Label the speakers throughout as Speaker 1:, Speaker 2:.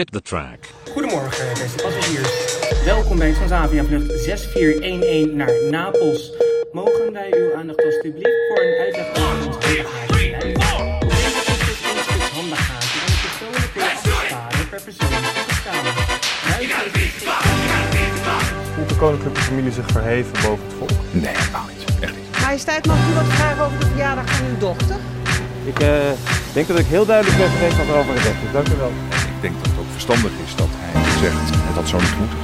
Speaker 1: Hit the track.
Speaker 2: Goedemorgen, beste passagiers. Welkom bij Transavia vlucht 6411 naar Napels. Mogen wij uw aandacht alstublieft voor een uitleg over ons handbagage leiden? Op deze toestel ons stuk handbagage en de persoonlijke waarde per persoon te bestaan. Ruimte is
Speaker 3: Hoe de koninklijke familie zich verheven boven het volk.
Speaker 4: Nee, helemaal niet. Echt niet.
Speaker 5: Majesteit, mag ik u wat vragen over de verjaardag van uw dochter?
Speaker 6: Ik eh, denk dat ik heel duidelijk ben geweest wat er over gezegd is. Dank u wel.
Speaker 4: En ik denk dat het ook verstandig is dat hij zegt "Eh, dat zou niet moeten.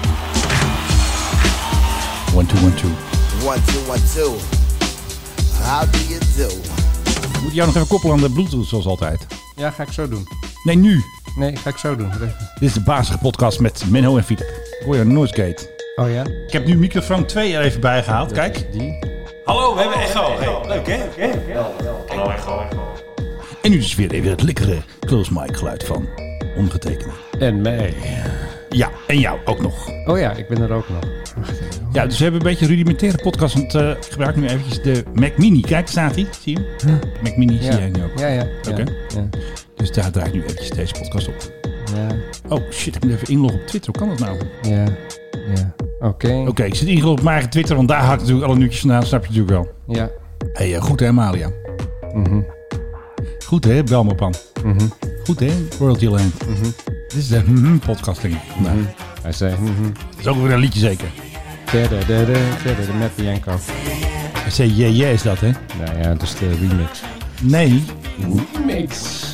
Speaker 4: One, two, one, two.
Speaker 7: One, two, one, two. How do you do?
Speaker 8: Moet jou nog even koppelen aan de Bluetooth, zoals altijd.
Speaker 9: Ja, ga ik zo doen.
Speaker 8: Nee, nu.
Speaker 9: Nee, ga ik zo doen.
Speaker 8: Dit is de basige podcast met Menno en Filip. Royal Noisegate.
Speaker 9: Oh ja?
Speaker 8: Ik heb nu microfoon 2 er even bij gehaald. Kijk.
Speaker 9: Die?
Speaker 8: Hallo, we hebben echo. Hey, leuk, hè? Hallo, echo, echo. En nu is weer even het lekkere close mic geluid van ongetekende.
Speaker 9: En mij.
Speaker 8: Ja, en jou ook nog.
Speaker 9: Oh ja, ik ben er ook nog.
Speaker 8: Ja, dus we hebben een beetje een rudimentaire podcast. Want eh, ik gebruik nu eventjes de Mac Mini. Kijk, daar staat hij. Zie je hem? Mac Mini zie jij nu ook.
Speaker 9: Ja, ja.
Speaker 8: Oké.
Speaker 9: Ja,
Speaker 8: Dus daar draai ik nu eventjes deze podcast op.
Speaker 9: ja,
Speaker 8: Oh shit, ik moet even inloggen op Twitter. Hoe kan dat nou?
Speaker 9: ja. ja. Oké.
Speaker 8: Oké, ik zit ingelogd op mijn eigen Twitter, want daar haak ik natuurlijk alle nieuwtjes vandaan. Snap je natuurlijk wel.
Speaker 9: Ja.
Speaker 8: Hé, hey, eh, goed hè, Malia? Goed hè, Belmopan? Goed hè, Royalty Land? Dit is de mhm podcast, denk ik. vandaag.
Speaker 9: Hij zei... mhm.
Speaker 8: Dat is ook weer een liedje zeker.
Speaker 9: Verder, verder, verder. De Matt Bianco.
Speaker 8: CJJ is dat, hè?
Speaker 9: Nou ja, dus de remix.
Speaker 8: Nee.
Speaker 9: Remix.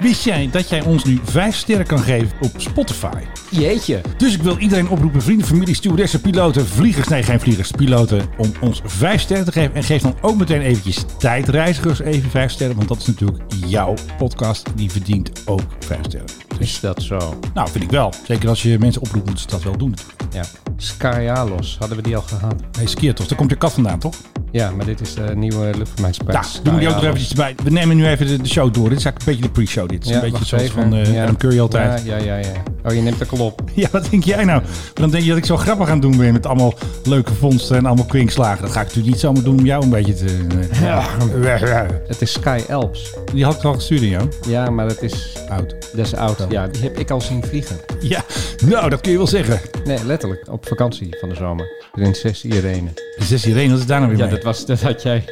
Speaker 8: Wist jij dat jij ons nu vijf sterren kan geven op Spotify?
Speaker 9: Jeetje.
Speaker 8: Dus ik wil iedereen oproepen, vrienden, familie, stewardessen, piloten, vliegers, nee geen vliegers, piloten, om ons vijf sterren te geven. En geef dan ook meteen eventjes tijdreizigers even vijf sterren, want dat is natuurlijk jouw podcast, die verdient ook vijf sterren.
Speaker 9: Dus Is dat zo?
Speaker 8: Nou, vind ik wel. Zeker als je mensen oproept, moeten ze dat wel doen. natuurlijk.
Speaker 9: Ja. Skyalos. Hadden we die al gehad?
Speaker 8: Nee, Skiertos, daar komt de kat vandaan, toch?
Speaker 9: Ja, maar dit is de nieuwe luchtvaartmaatschappij.
Speaker 8: Ja, doen we die ook nog eventjes bij. We nemen nu even de, de show door. Dit is eigenlijk een beetje de pre-show, dit. Het is een beetje zoals van eh Adam Curry altijd. Ja.
Speaker 9: Ja, ja, ja, ja. Oh, je neemt de klop.
Speaker 8: wat denk jij nou? Want Dan denk je dat ik zo grappig aan het doen ben met allemaal leuke vondsten en allemaal kwinkslagen. Dat ga ik natuurlijk niet zomaar doen om jou een beetje te... Ja.
Speaker 9: Het is Sky Alps.
Speaker 8: Die had ik al gestuurd in jou.
Speaker 9: Ja, maar dat is
Speaker 8: Oud.
Speaker 9: Dat is oud. Ja, die heb ik al zien vliegen.
Speaker 8: Ja, nou, dat kun je wel zeggen.
Speaker 9: Nee, letterlijk. Op vakantie van de zomer. Prinses Irene.
Speaker 8: Dus is Irene, wat is daar nou weer
Speaker 9: Ja,
Speaker 8: mee?
Speaker 9: dat, was, dat had jij.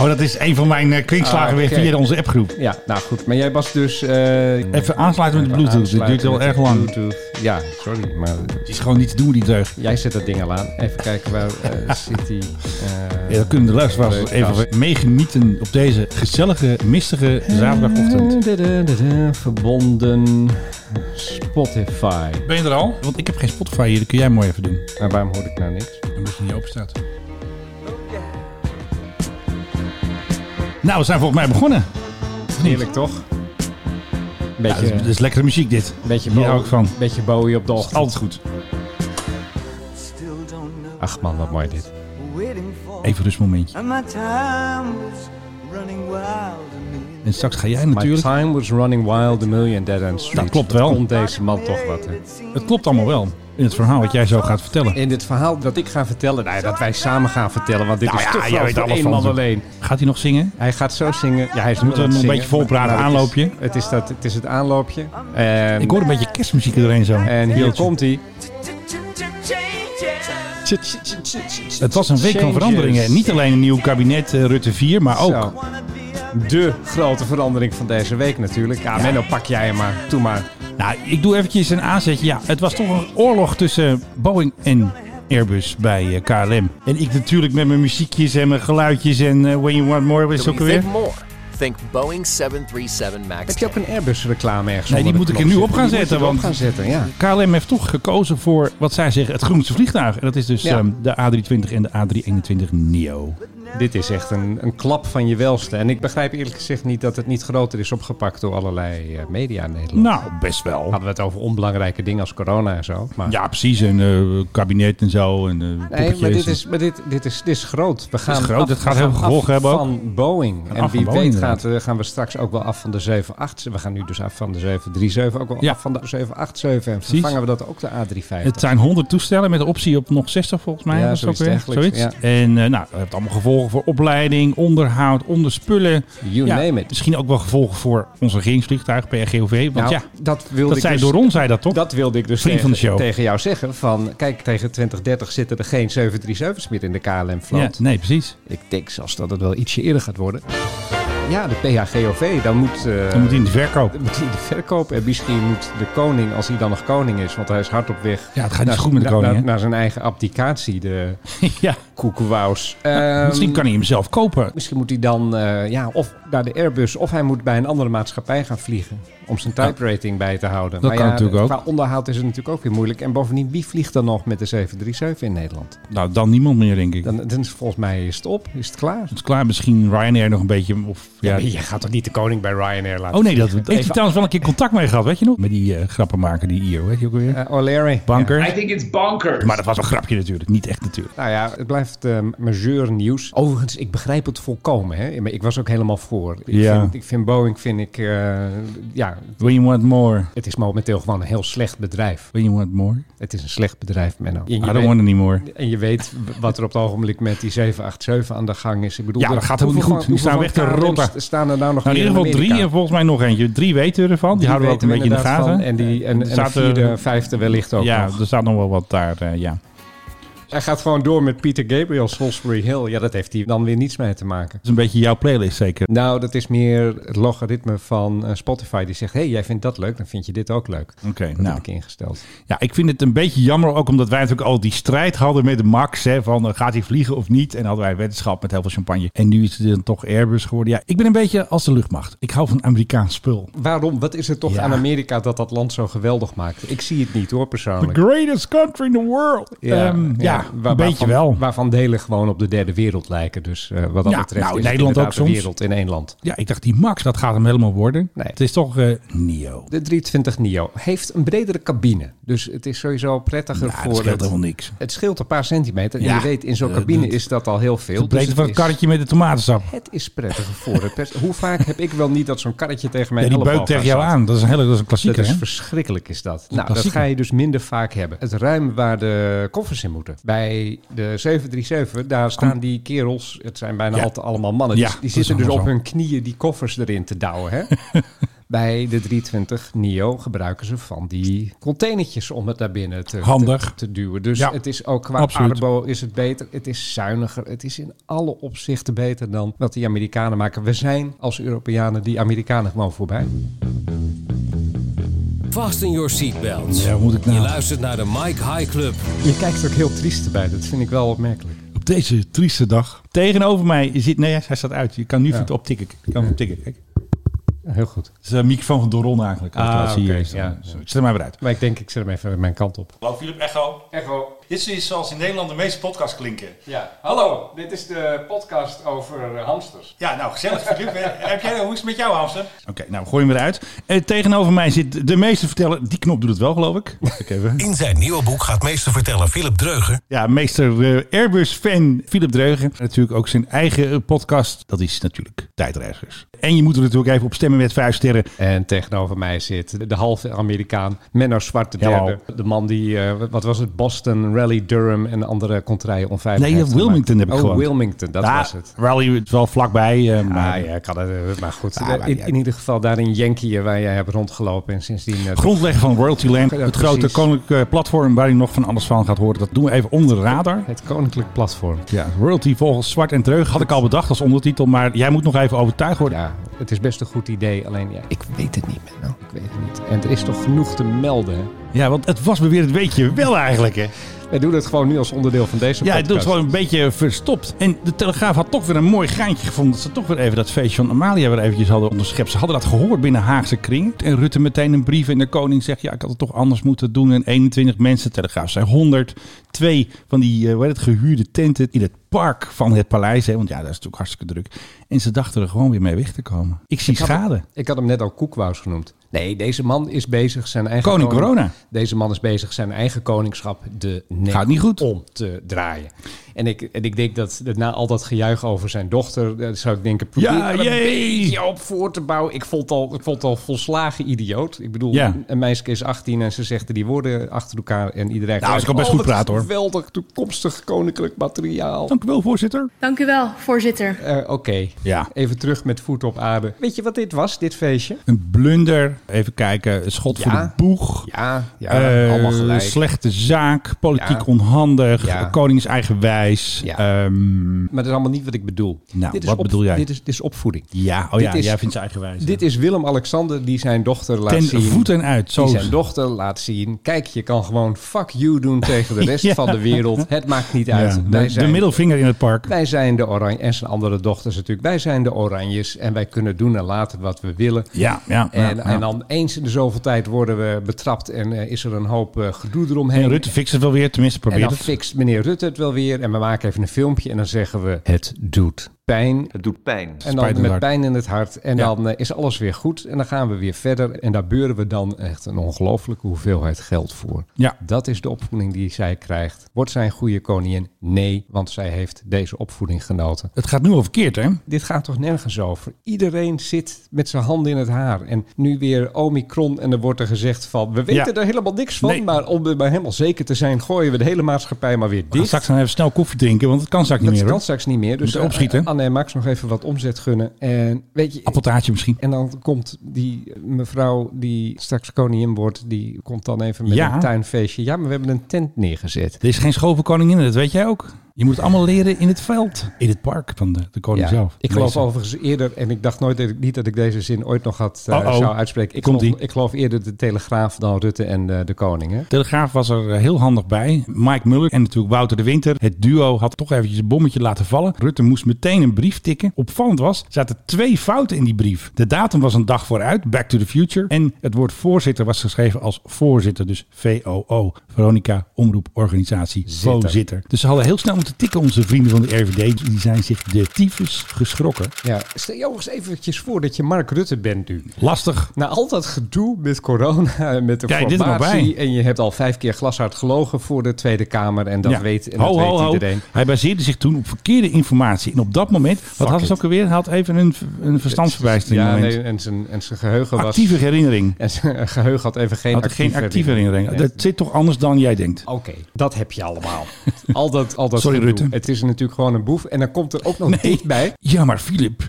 Speaker 8: Oh, dat is een van mijn eh, kwinkslagen
Speaker 9: Ah,
Speaker 8: weer
Speaker 9: oké.
Speaker 8: via onze appgroep.
Speaker 9: Ja, nou goed. Maar jij was dus... eh,
Speaker 8: Even aansluiten met de Bluetooth. Dit duurt
Speaker 9: aansluiten
Speaker 8: wel
Speaker 9: met
Speaker 8: erg
Speaker 9: de
Speaker 8: lang.
Speaker 9: Bluetooth. Ja, sorry. Maar
Speaker 8: Het is gewoon niet te doen, die deugd.
Speaker 9: jij zet dat ding al aan. Even kijken waar eh, zit die... eh,
Speaker 8: Ja, dan kunnen de luisteraars
Speaker 9: leuk,
Speaker 8: even meegenieten op deze gezellige, mistige zaterdagochtend.
Speaker 9: da-da-da-da, Verbonden Spotify.
Speaker 8: Ben je er al? Want ik heb geen Spotify hier, dat kun jij mooi even doen.
Speaker 9: Maar waarom hoor ik nou niks?
Speaker 8: Omdat het niet open staat.
Speaker 10: Oh,
Speaker 8: Nou, we zijn volgens mij begonnen.
Speaker 9: Heerlijk toch?
Speaker 8: Ja,
Speaker 9: Beetje,
Speaker 8: dat, is, dat is lekkere muziek dit.
Speaker 9: beetje,
Speaker 8: Hier
Speaker 9: Bowie,
Speaker 8: hou ik van.
Speaker 9: beetje Bowie op de
Speaker 8: Dat is
Speaker 9: ochtend.
Speaker 8: altijd goed.
Speaker 10: Still don't know.
Speaker 9: Ach man, wat mooi dit.
Speaker 10: Waiting for.
Speaker 8: Even rustmomentje.
Speaker 10: And my time was running wild and me.
Speaker 8: En straks ga jij
Speaker 9: My
Speaker 8: natuurlijk.
Speaker 9: time was running wild, a million dead end streets.
Speaker 8: Dat klopt wel.
Speaker 9: Vond deze man toch wat. Hè?
Speaker 8: Het klopt allemaal wel. In het verhaal wat jij zo gaat vertellen.
Speaker 9: In dit verhaal dat ik ga vertellen, nou, ja, dat wij samen gaan vertellen, want dit
Speaker 8: Nou
Speaker 9: is
Speaker 8: ja,
Speaker 9: te
Speaker 8: jij
Speaker 9: veel
Speaker 8: weet
Speaker 9: voor
Speaker 8: alles
Speaker 9: één
Speaker 8: van
Speaker 9: man
Speaker 8: het.
Speaker 9: alleen.
Speaker 8: Gaat hij nog zingen?
Speaker 9: Hij gaat zo zingen. Ja, hij is
Speaker 8: Moeten we hem een beetje volpraten, aanloopje?
Speaker 9: Het is, het is dat, het is het aanloopje. En,
Speaker 8: Ik hoor een beetje kerstmuziek er doorheen zo.
Speaker 9: en hier komt hij.
Speaker 8: Het was een week van
Speaker 9: Changes.
Speaker 8: veranderingen. Niet alleen een nieuw kabinet eh, Rutte 4, maar ook
Speaker 9: Zo. De grote verandering van deze week natuurlijk. Ja, Menno, pak jij hem maar. Doe maar.
Speaker 8: Nou, ik doe eventjes een aanzetje. Ja, het was toch een oorlog tussen Boeing en Airbus bij eh, KLM. En ik natuurlijk met mijn muziekjes en mijn geluidjes en eh, When You Want More was het ook alweer.
Speaker 7: more. Think Boeing 737 MAX.
Speaker 9: Heb je ook een Airbus-reclame ergens?
Speaker 8: Nee, die
Speaker 9: onder de
Speaker 8: moet ik er
Speaker 9: knop
Speaker 8: nu op gaan
Speaker 9: Die moet je
Speaker 8: zetten,
Speaker 9: erop
Speaker 8: want-
Speaker 9: gaan zetten, ja.
Speaker 8: KLM heeft toch gekozen voor wat zij zeggen het groenste vliegtuig. En dat is dus
Speaker 9: Ja.
Speaker 8: ehm, de A320 en de A321 NEO.
Speaker 9: Dit is echt een, een klap van je welste. En ik begrijp eerlijk gezegd niet dat het niet groter is opgepakt door allerlei eh, media in Nederland.
Speaker 8: Nou, best wel.
Speaker 9: Hadden we het over onbelangrijke dingen als corona en zo. Maar...
Speaker 8: Ja, precies. En eh, kabinet en zo. En, eh,
Speaker 9: Nee, maar,
Speaker 8: poppetjes.
Speaker 9: dit is, maar dit, dit, is, dit is groot. We gaan
Speaker 8: groot.
Speaker 9: af-
Speaker 8: Dit gaat
Speaker 9: we
Speaker 8: heel
Speaker 9: gaan
Speaker 8: veel gevolgen
Speaker 9: af
Speaker 8: hebben ook.
Speaker 9: Van Boeing.
Speaker 8: gaan
Speaker 9: En
Speaker 8: af
Speaker 9: wie
Speaker 8: van Boeing,
Speaker 9: weet gaat, eh, gaan we straks ook wel af van de 787. We gaan nu dus af van de 737. Ook wel
Speaker 8: Ja.
Speaker 9: af van de 787. En vervangen we dat ook de A350.
Speaker 8: Het zijn 100 toestellen met de optie op nog 60 volgens mij.
Speaker 9: Ja,
Speaker 8: was het ook
Speaker 9: zoiets
Speaker 8: weer.
Speaker 9: dergelijks,
Speaker 8: zoiets. En eh, nou, dat heeft allemaal gevolgen gevolgen voor opleiding, onderhoud, onderspullen.
Speaker 9: You
Speaker 8: Ja,
Speaker 9: name it.
Speaker 8: Misschien ook wel gevolgen voor ons regeringsvliegtuig, PRGOV. Want
Speaker 9: Nou,
Speaker 8: ja,
Speaker 9: dat wilde
Speaker 8: dat
Speaker 9: ik
Speaker 8: zei
Speaker 9: dus-
Speaker 8: door ons, zei dat toch?
Speaker 9: Dat wilde ik dus
Speaker 8: Oh. Vriend
Speaker 9: tegen,
Speaker 8: van de show.
Speaker 9: tegen jou zeggen. Van, kijk, tegen 2030 zitten er geen 737's meer in de
Speaker 8: ja,
Speaker 9: KLM-vloot.
Speaker 8: nee, precies.
Speaker 9: Ik denk zelfs dat het wel ietsje eerder gaat worden. Ja, de PHGOV, dan moet... eh,
Speaker 8: Dan moet hij in de verkoop.
Speaker 9: dan moet hij in de verkoop en misschien moet de koning, als hij dan nog koning is, want hij is hard op weg
Speaker 8: Ja, het gaat niet goed met de
Speaker 9: na-
Speaker 8: koning,
Speaker 9: na-
Speaker 8: hè?
Speaker 9: naar, zijn eigen abdicatie, de
Speaker 8: ja,
Speaker 9: koekenwaus. Ehm,
Speaker 8: misschien kan hij hem zelf kopen.
Speaker 9: Misschien moet hij dan eh, ja, of naar de Airbus of hij moet bij een andere maatschappij gaan vliegen. Om zijn type rating bij te houden.
Speaker 8: Dat kan
Speaker 9: ja,
Speaker 8: natuurlijk ook.
Speaker 9: Qua onderhoud is het natuurlijk ook weer moeilijk. En bovendien, wie vliegt dan nog met de 737 in Nederland?
Speaker 8: Nou, dan niemand meer, denk ik.
Speaker 9: Dan, dan is volgens mij is het op, is het klaar.
Speaker 8: Het is klaar, misschien Ryanair nog een beetje. Of, ja.
Speaker 9: maar je gaat toch niet de koning bij Ryanair laten
Speaker 8: Oh nee, dat heeft
Speaker 9: vliegen?
Speaker 8: hij
Speaker 9: Even-
Speaker 8: trouwens wel een keer contact mee gehad, weet je nog? Met die eh, grappenmaker, die IO, weet je ook weer?
Speaker 9: Eh, O'Leary.
Speaker 8: Banker.
Speaker 1: I think it's bonkers.
Speaker 8: Maar dat was een grapje natuurlijk, niet echt natuurlijk.
Speaker 9: Nou ja, het blijft eh, majeur nieuws. Overigens, ik begrijp het volkomen. Hè? Maar Ik was ook helemaal voor. Ik,
Speaker 8: Ja.
Speaker 9: vind, ik vind Boeing, vind ik, eh, ja,
Speaker 8: We want more.
Speaker 9: het is momenteel gewoon een heel slecht bedrijf.
Speaker 8: We want more.
Speaker 9: Het is een slecht bedrijf, Menno. En je,
Speaker 8: I don't
Speaker 9: weet,
Speaker 8: want any more. Nou,
Speaker 9: en je weet wat er op het ogenbeeld met die 787 aan de gang is. Ik bedoel,
Speaker 8: Ja,
Speaker 9: er-
Speaker 8: dat gaat helemaal niet
Speaker 9: hoeveel
Speaker 8: goed. Die
Speaker 9: van-
Speaker 8: staan
Speaker 9: hoeveel
Speaker 8: weg te
Speaker 9: KLM's
Speaker 8: rotten.
Speaker 9: staan er nou nog
Speaker 8: Nou, in
Speaker 9: meer
Speaker 8: ieder geval drie
Speaker 9: Amerika?
Speaker 8: en volgens mij nog eentje. Drie weten we ervan. Die, houden we ook een
Speaker 9: weten
Speaker 8: beetje in de
Speaker 9: inderdaad
Speaker 8: gaten.
Speaker 9: van. En, die, en,
Speaker 8: Er
Speaker 9: en de
Speaker 8: zaten-
Speaker 9: vierde, vijfde wellicht ook
Speaker 8: ja, dus-
Speaker 9: nog.
Speaker 8: er staat nog wel wat daar. eh, ja. Dat
Speaker 9: Hij gaat gewoon door met Peter Gabriel, Salisbury Hill. Ja, dat heeft hij dan weer niets mee te maken.
Speaker 8: is een beetje jouw playlist zeker.
Speaker 9: Nou, dat is meer het logaritme van eh, Spotify. Die zegt, hey, jij vindt dat leuk, dan vind je dit ook leuk.
Speaker 8: Oké,
Speaker 9: Dat
Speaker 8: nou.
Speaker 9: heb ik ingesteld.
Speaker 8: Ja, ik vind het een beetje jammer ook omdat wij natuurlijk al die strijd hadden met de Max. Hè, van eh, gaat hij vliegen of niet? En hadden wij een wetenschap met heel veel champagne. En nu is het dan toch Airbus geworden. Ja, ik ben een beetje als de luchtmacht. Ik hou van Amerikaans spul.
Speaker 9: Waarom? Wat is er toch
Speaker 8: Ja.
Speaker 9: aan Amerika dat dat land zo geweldig maakt? Ik zie het niet hoor,
Speaker 8: The
Speaker 9: persoonlijk.
Speaker 8: greatest country in the world. Ehm, Ja,
Speaker 9: Waar-
Speaker 8: een beetje
Speaker 9: waarvan,
Speaker 8: wel.
Speaker 9: Waarvan delen gewoon op de derde wereld lijken. Dus eh, wat dat
Speaker 8: Ja,
Speaker 9: betreft
Speaker 8: nou,
Speaker 9: is het
Speaker 8: Nederland ook
Speaker 9: inderdaad
Speaker 8: soms.
Speaker 9: de wereld in één land.
Speaker 8: Ja, ik dacht die Max, dat gaat hem helemaal worden.
Speaker 9: Nee.
Speaker 8: Het is toch eh Nio.
Speaker 9: De 320 Nio heeft een bredere cabine. Dus het is sowieso prettiger
Speaker 8: Ja, dat
Speaker 9: voor
Speaker 8: scheelt
Speaker 9: het...
Speaker 8: helemaal niks.
Speaker 9: Het scheelt een paar centimeter. En
Speaker 8: Ja,
Speaker 9: je weet, in zo'n
Speaker 8: eh,
Speaker 9: cabine
Speaker 8: dat-
Speaker 9: is dat al heel veel.
Speaker 8: Het breedte
Speaker 9: Dus
Speaker 8: van het
Speaker 9: is-
Speaker 8: karretje met de tomatensap.
Speaker 9: Het is prettiger voor het pers. Hoe vaak heb ik wel niet dat zo'n karretje tegen mij
Speaker 8: Ja, die beukt tegen jou aan. Dat is een hele dat is een
Speaker 9: Dat
Speaker 8: klassieker.
Speaker 9: is
Speaker 8: hè?
Speaker 9: verschrikkelijk, is dat. Nou, dat
Speaker 8: klassieker.
Speaker 9: ga je dus minder vaak hebben. Het ruim waar de koffers in moeten. Bij de 737, daar staan die kerels, het zijn bijna
Speaker 8: Ja.
Speaker 9: altijd allemaal mannen. Die-
Speaker 8: Ja,
Speaker 9: die
Speaker 8: dat
Speaker 9: zitten
Speaker 8: is
Speaker 9: dus op
Speaker 8: allemaal
Speaker 9: hun knieën die koffers erin te douwen. Hè? Bij de 320 NIO gebruiken ze van die containertjes om het naar binnen te,
Speaker 8: Handig.
Speaker 9: te, te duwen. Dus
Speaker 8: Ja,
Speaker 9: het is ook qua
Speaker 8: absoluut.
Speaker 9: arbo is het beter. Het is zuiniger. Het is in alle opzichten beter dan wat die Amerikanen maken. We zijn als Europeanen die Amerikanen gewoon voorbij.
Speaker 11: Fasten your seatbelts.
Speaker 8: Ja, moet ik
Speaker 11: Je
Speaker 8: nou
Speaker 11: luistert naar de Mike High Club.
Speaker 9: Je kijkt er ook heel triest bij. Dat vind ik wel opmerkelijk.
Speaker 8: op deze trieste dag. Tegenover mij zit... Nee, hij staat uit. Je kan nu voor het optikken. Je kan optikken. Kijk.
Speaker 9: Ja, heel goed.
Speaker 8: Het is een microfoon van Doron eigenlijk.
Speaker 9: Ah,
Speaker 8: Als je
Speaker 9: oké,
Speaker 8: hier is, dan-
Speaker 9: ja.
Speaker 8: zo. Zet hem maar weer uit.
Speaker 9: Maar ik denk, ik zet hem even mijn kant op.
Speaker 8: Hallo Philip Echo.
Speaker 9: Echo.
Speaker 8: Dit is zoals in Nederland de meeste podcasts klinken.
Speaker 9: Ja. Hallo, dit is de podcast over eh, hamsters.
Speaker 8: Ja, nou gezellig Philip. Heb jij, hoe is het met jou Hamster? Oké, nou we gooien hem eruit. Eh, tegenover mij zit de meeste verteller. Die knop doet het wel geloof ik. Wacht ik even.
Speaker 11: In zijn nieuwe boek gaat meester vertellen Philip Dreuger
Speaker 8: Ja, meester eh, Airbus-fan Philip Dreugen. Natuurlijk ook zijn eigen eh, podcast. Dat is natuurlijk Tijdreizigers. En je moet er natuurlijk even op stemmen met vijf sterren.
Speaker 9: En tegenover mij zit de halve Amerikaan, Menno Zwart de
Speaker 8: Hello.
Speaker 9: derde. De man die, eh, wat was het, Boston, Rally, Durham en andere contraien onveilig
Speaker 8: Nee, eh,
Speaker 9: heeft
Speaker 8: Wilmington
Speaker 9: gemaakt.
Speaker 8: heb ik Ah.
Speaker 9: oh,
Speaker 8: gewoond.
Speaker 9: Wilmington, dat
Speaker 8: Ja,
Speaker 9: was het.
Speaker 8: Rally is wel vlakbij. eh, maar
Speaker 9: Ah, ja, kan het, eh, maar goed.
Speaker 8: Ah, maar
Speaker 9: in,
Speaker 8: ja.
Speaker 9: in ieder geval daar in Yankee eh, waar jij hebt rondgelopen en sindsdien... eh,
Speaker 8: Grondlegger van Royalty Land,
Speaker 9: Ja,
Speaker 8: het
Speaker 9: precies.
Speaker 8: grote koninklijke platform waar u nog van alles van gaat horen. Dat doen we even onder de radar.
Speaker 9: het Koninklijk Platform.
Speaker 8: Ja, Royalty volgens Zwart en Dreug had ik al bedacht als ondertitel, maar jij moet nog even overtuigd worden.
Speaker 9: Ja, het is best een goed idee, alleen ja, ik weet het niet, Menno. Ik weet het niet. En er is toch genoeg te melden, hè?
Speaker 8: Ja, want het was me weer het weet je wel eigenlijk. Hè?
Speaker 9: Wij doen het gewoon nu als onderdeel van deze
Speaker 8: Ja,
Speaker 9: podcast.
Speaker 8: het doet gewoon een beetje verstopt. En de Telegraaf had toch weer een mooi geintje gevonden. Dat ze toch weer even dat feestje van Amalia weer eventjes hadden onderschept. Ze hadden dat gehoord binnen Haagse kring. En Rutte meteen een brief en de koning zegt... ja, ik had het toch anders moeten doen. En 21 mensen, Telegraaf zijn 100. Twee van die eh, hoe heet het, gehuurde tenten in het park van het paleis. Hè? Want ja, dat is natuurlijk hartstikke druk. En ze dachten er gewoon weer mee weg te komen. Ik zie
Speaker 9: had-
Speaker 8: schade.
Speaker 9: Ik had hem net al Koekwaus genoemd. Nee, deze man is bezig zijn eigen...
Speaker 8: Koning Corona.
Speaker 9: Deze man is bezig zijn eigen koningschap de nek
Speaker 8: Gaat niet goed.
Speaker 9: om te draaien. En ik, en ik denk dat, dat na al dat gejuich over zijn dochter, eh, zou ik denken, probeer
Speaker 8: Ja,
Speaker 9: er een
Speaker 8: jee!
Speaker 9: beetje op voor te bouwen. Ik vond al, ik vond het al volslagen idioot. Ik bedoel,
Speaker 8: Ja.
Speaker 9: een meisje is 18 en ze zegt die woorden achter elkaar en iedereen...
Speaker 8: Nou, ze kan best
Speaker 9: Oh,
Speaker 8: goed
Speaker 9: wat is
Speaker 8: praten, hoor.
Speaker 9: Geweldig toekomstig koninklijk materiaal.
Speaker 8: Dank u wel, voorzitter.
Speaker 1: Dank u wel, voorzitter.
Speaker 9: Eh, Oké,
Speaker 8: Ja.
Speaker 9: even terug met voet op aarde. Weet je wat dit was, dit feestje?
Speaker 8: Een blunder. Even kijken. Een schot voor de
Speaker 9: Ja.
Speaker 8: boeg.
Speaker 9: Ja, ja
Speaker 8: Eh,
Speaker 9: allemaal gelijk.
Speaker 8: slechte zaak, politiek
Speaker 9: Ja.
Speaker 8: onhandig,
Speaker 9: Ja.
Speaker 8: koningseigenwijs.
Speaker 9: Ja.
Speaker 8: Ehm,
Speaker 9: Maar dat is allemaal niet wat ik bedoel.
Speaker 8: Nou,
Speaker 9: is
Speaker 8: wat bedoel jij?
Speaker 9: Dit is, dit is opvoeding.
Speaker 8: ja, oh
Speaker 9: Dit
Speaker 8: ja,
Speaker 9: is-
Speaker 8: jij vindt ze eigenwijs.
Speaker 9: Dit is Willem-Alexander die zijn dochter laat
Speaker 8: Ten
Speaker 9: zien.
Speaker 8: voet en uit. Zo
Speaker 9: Die zijn dochter laat zien. Kijk, je kan gewoon fuck you doen tegen de rest
Speaker 8: Ja.
Speaker 9: van de wereld. Het maakt niet uit.
Speaker 8: Ja,
Speaker 9: wij,
Speaker 8: de,
Speaker 9: zijn,
Speaker 8: de middelvinger in het park.
Speaker 9: wij zijn de oranje en zijn andere dochters natuurlijk. Wij zijn de oranjes en wij kunnen doen en laten wat we willen.
Speaker 8: Ja, ja. ja,
Speaker 9: En,
Speaker 8: ja.
Speaker 9: en dan eens in de zoveel tijd worden we betrapt en eh, is er een hoop eh, gedoe
Speaker 8: En
Speaker 9: eromheen.
Speaker 8: Rutte fixt het wel weer, tenminste
Speaker 9: en
Speaker 8: probeert
Speaker 9: dan
Speaker 8: het.
Speaker 9: fixt meneer Rutte het wel weer. En we maken even een filmpje en dan zeggen we... Het doet pijn.
Speaker 6: Het doet pijn.
Speaker 9: En dan
Speaker 8: Spijt in het
Speaker 9: met
Speaker 8: hart.
Speaker 9: pijn in het hart. En
Speaker 8: Ja.
Speaker 9: dan eh, is alles weer goed. En dan gaan we weer verder. En daar beuren we dan echt een ongelooflijke hoeveelheid geld voor.
Speaker 8: Ja.
Speaker 9: Dat is de opvoeding die zij krijgt. Wordt zij een goede koningin? Nee, want zij heeft deze opvoeding genoten.
Speaker 8: Het gaat nu al verkeerd, hè?
Speaker 9: Dit gaat toch nergens over? Iedereen zit met zijn handen in het haar. En nu weer Omicron en er wordt er gezegd van... we weten er helemaal niks van,
Speaker 8: Nee.
Speaker 9: maar om er maar helemaal zeker te zijn... gooien we de hele maatschappij maar weer
Speaker 8: We gaan
Speaker 9: dicht.
Speaker 8: straks dan even snel koffie drinken, want het kan straks niet
Speaker 9: dat
Speaker 8: meer,
Speaker 9: kan
Speaker 8: hoor.
Speaker 9: straks niet meer. Dus
Speaker 8: Moeten opschieten.
Speaker 9: eh, Anne en Max nog even wat omzet gunnen. En weet je,
Speaker 8: Appeltaartje misschien.
Speaker 9: en dan komt die mevrouw die straks koningin wordt, die komt dan even met
Speaker 8: Ja.
Speaker 9: een tuinfeestje. Ja, maar we hebben een tent neergezet.
Speaker 8: Er is geen school voor koninginnen, dat weet jij ook. Je moet het allemaal leren in het veld. In het park van de, de koning
Speaker 9: Ja.
Speaker 8: zelf.
Speaker 9: Ik geloof
Speaker 8: Meester.
Speaker 9: overigens eerder, en ik dacht nooit dat ik, niet dat ik deze zin ooit nog had eh,
Speaker 8: Uh-oh.
Speaker 9: zou uitspreken. Ik
Speaker 8: Komt-ie.
Speaker 9: geloof, ik geloof eerder de Telegraaf dan Rutte en eh, de koning. Hè?
Speaker 8: Telegraaf was er eh, heel handig bij. Mike Muller en natuurlijk Wouter de Winter. Het duo had toch eventjes een bommetje laten vallen. Rutte moest meteen een brief tikken. Opvallend was, zaten twee fouten in die brief. De datum was een dag vooruit, Back to the Future. En het woord voorzitter was geschreven als voorzitter. Dus VOO, Veronica Omroeporganisatie
Speaker 9: Zitter.
Speaker 8: Voorzitter. Dus ze hadden heel snel moeten tikken, onze vrienden van de RVD. Die zijn zich de tyfus geschrokken.
Speaker 9: Ja. Stel jou eens eventjes voor dat je Mark Rutte bent nu.
Speaker 8: Lastig.
Speaker 9: Na al dat gedoe met corona en met de
Speaker 8: Kijk, dit er nog
Speaker 9: formatie.
Speaker 8: bij.
Speaker 9: en je hebt al vijf keer glashard gelogen voor de Tweede Kamer. En dat
Speaker 8: Ja.
Speaker 9: weet, en
Speaker 8: Ho,
Speaker 9: dat
Speaker 8: ho,
Speaker 9: weet
Speaker 8: ho.
Speaker 9: iedereen.
Speaker 8: Hij baseerde zich toen op verkeerde informatie. En op dat moment, wat hadden ze
Speaker 9: it.
Speaker 8: ook alweer? Hij had even een, een verstandsverwijstering.
Speaker 9: Ja,
Speaker 8: moment.
Speaker 9: nee, en zijn, en zijn geheugen was...
Speaker 8: Actieve herinnering.
Speaker 9: En zijn geheugen had even geen
Speaker 8: Had ik geen actieve herinnering. Dat zit toch anders dan jij denkt.
Speaker 9: Oké, dat heb je allemaal. al dat, al dat
Speaker 8: Sorry,
Speaker 9: gedoe.
Speaker 8: Rutte.
Speaker 9: Het is natuurlijk gewoon een boef. En dan komt er ook nog dit bij.
Speaker 8: Ja, maar Filip,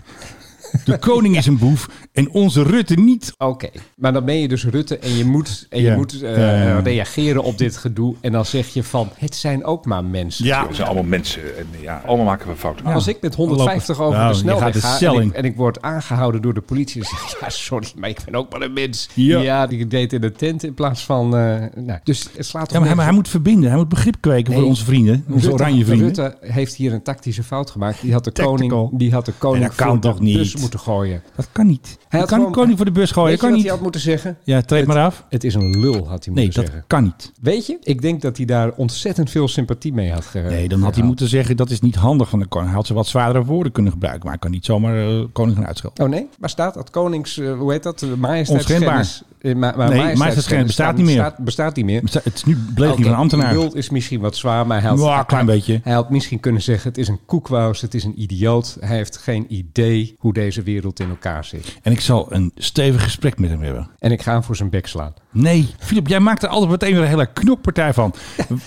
Speaker 8: de koning is een boef en onze Rutte niet.
Speaker 9: Oké, maar dan ben je dus Rutte en je moet, en
Speaker 8: Ja.
Speaker 9: je moet eh,
Speaker 8: Ja, ja, ja.
Speaker 9: reageren op dit gedoe. En dan zeg je van, het zijn ook maar mensen.
Speaker 8: Ja,
Speaker 4: We zijn allemaal mensen en ja, allemaal maken we fouten.
Speaker 9: Als ik met 150 over
Speaker 8: Nou,
Speaker 9: de
Speaker 8: je gaat
Speaker 9: snelweg
Speaker 8: de
Speaker 9: ga
Speaker 8: cel
Speaker 9: en
Speaker 8: in.
Speaker 9: ik, en ik word aangehouden door de politie... dan zeg ik, ja, sorry, maar ik ben ook maar een mens.
Speaker 8: Ja.
Speaker 9: Ja, die deed in de tent in plaats van... eh, nou, dus
Speaker 8: Ja,
Speaker 9: het slaat toch
Speaker 8: maar, hij,
Speaker 9: nergens
Speaker 8: maar hij moet verbinden. Hij moet begrip kweken voor
Speaker 9: Nee.
Speaker 8: onze vrienden. Onze
Speaker 9: Rutte-
Speaker 8: oranje vrienden.
Speaker 9: Rutte heeft hier een tactische fout gemaakt. Die had de
Speaker 8: Tactical.
Speaker 9: koning, die had de koning
Speaker 8: Nee, dat kan
Speaker 9: voor de
Speaker 8: toch niet?
Speaker 9: bus moeten gooien.
Speaker 8: Dat kan niet. Hij kan
Speaker 9: had
Speaker 8: niet
Speaker 9: gewoon-
Speaker 8: koning voor de bus gooien.
Speaker 9: Weet je
Speaker 8: kan
Speaker 9: wat
Speaker 8: niet.
Speaker 9: hij had moeten zeggen?
Speaker 8: Ja, treed
Speaker 9: Het-
Speaker 8: maar af.
Speaker 9: Het is een lul, had hij
Speaker 8: Nee,
Speaker 9: moeten
Speaker 8: dat
Speaker 9: zeggen.
Speaker 8: kan niet.
Speaker 9: Weet je, ik denk dat hij daar ontzettend veel sympathie mee had ge.
Speaker 8: Nee, dan had hij
Speaker 9: gehad.
Speaker 8: moeten zeggen dat is niet handig van de koning. Hij had ze wat zwaardere woorden kunnen gebruiken. Maar hij kan niet zomaar eh, koning gaan uitschelden.
Speaker 9: Oh nee, waar staat dat? Konings, eh, hoe heet dat? Eh,
Speaker 8: Onschendbaar.
Speaker 9: Majesteitsgennis. Eh, ma- maar
Speaker 8: Nee,
Speaker 9: majesteitsgennis
Speaker 8: majesteitsgennis bestaat
Speaker 9: staat-
Speaker 8: niet meer.
Speaker 9: Staat, bestaat niet meer.
Speaker 8: Maar Het is nu bleef
Speaker 9: Oké,
Speaker 8: niet van een ambtenaar.
Speaker 9: Lul is misschien wat zwaar, maar hij had,
Speaker 8: Ja, een klein beetje.
Speaker 9: hij had misschien kunnen zeggen... het is een koekwaus, het is een idioot. Hij heeft geen idee hoe deze wereld in elkaar zit.
Speaker 8: En ik zal een stevig gesprek met hem hebben.
Speaker 9: En ik ga hem voor zijn bek slaan.
Speaker 8: Nee, Filip, jij maakt er altijd meteen weer een hele knokpartij van.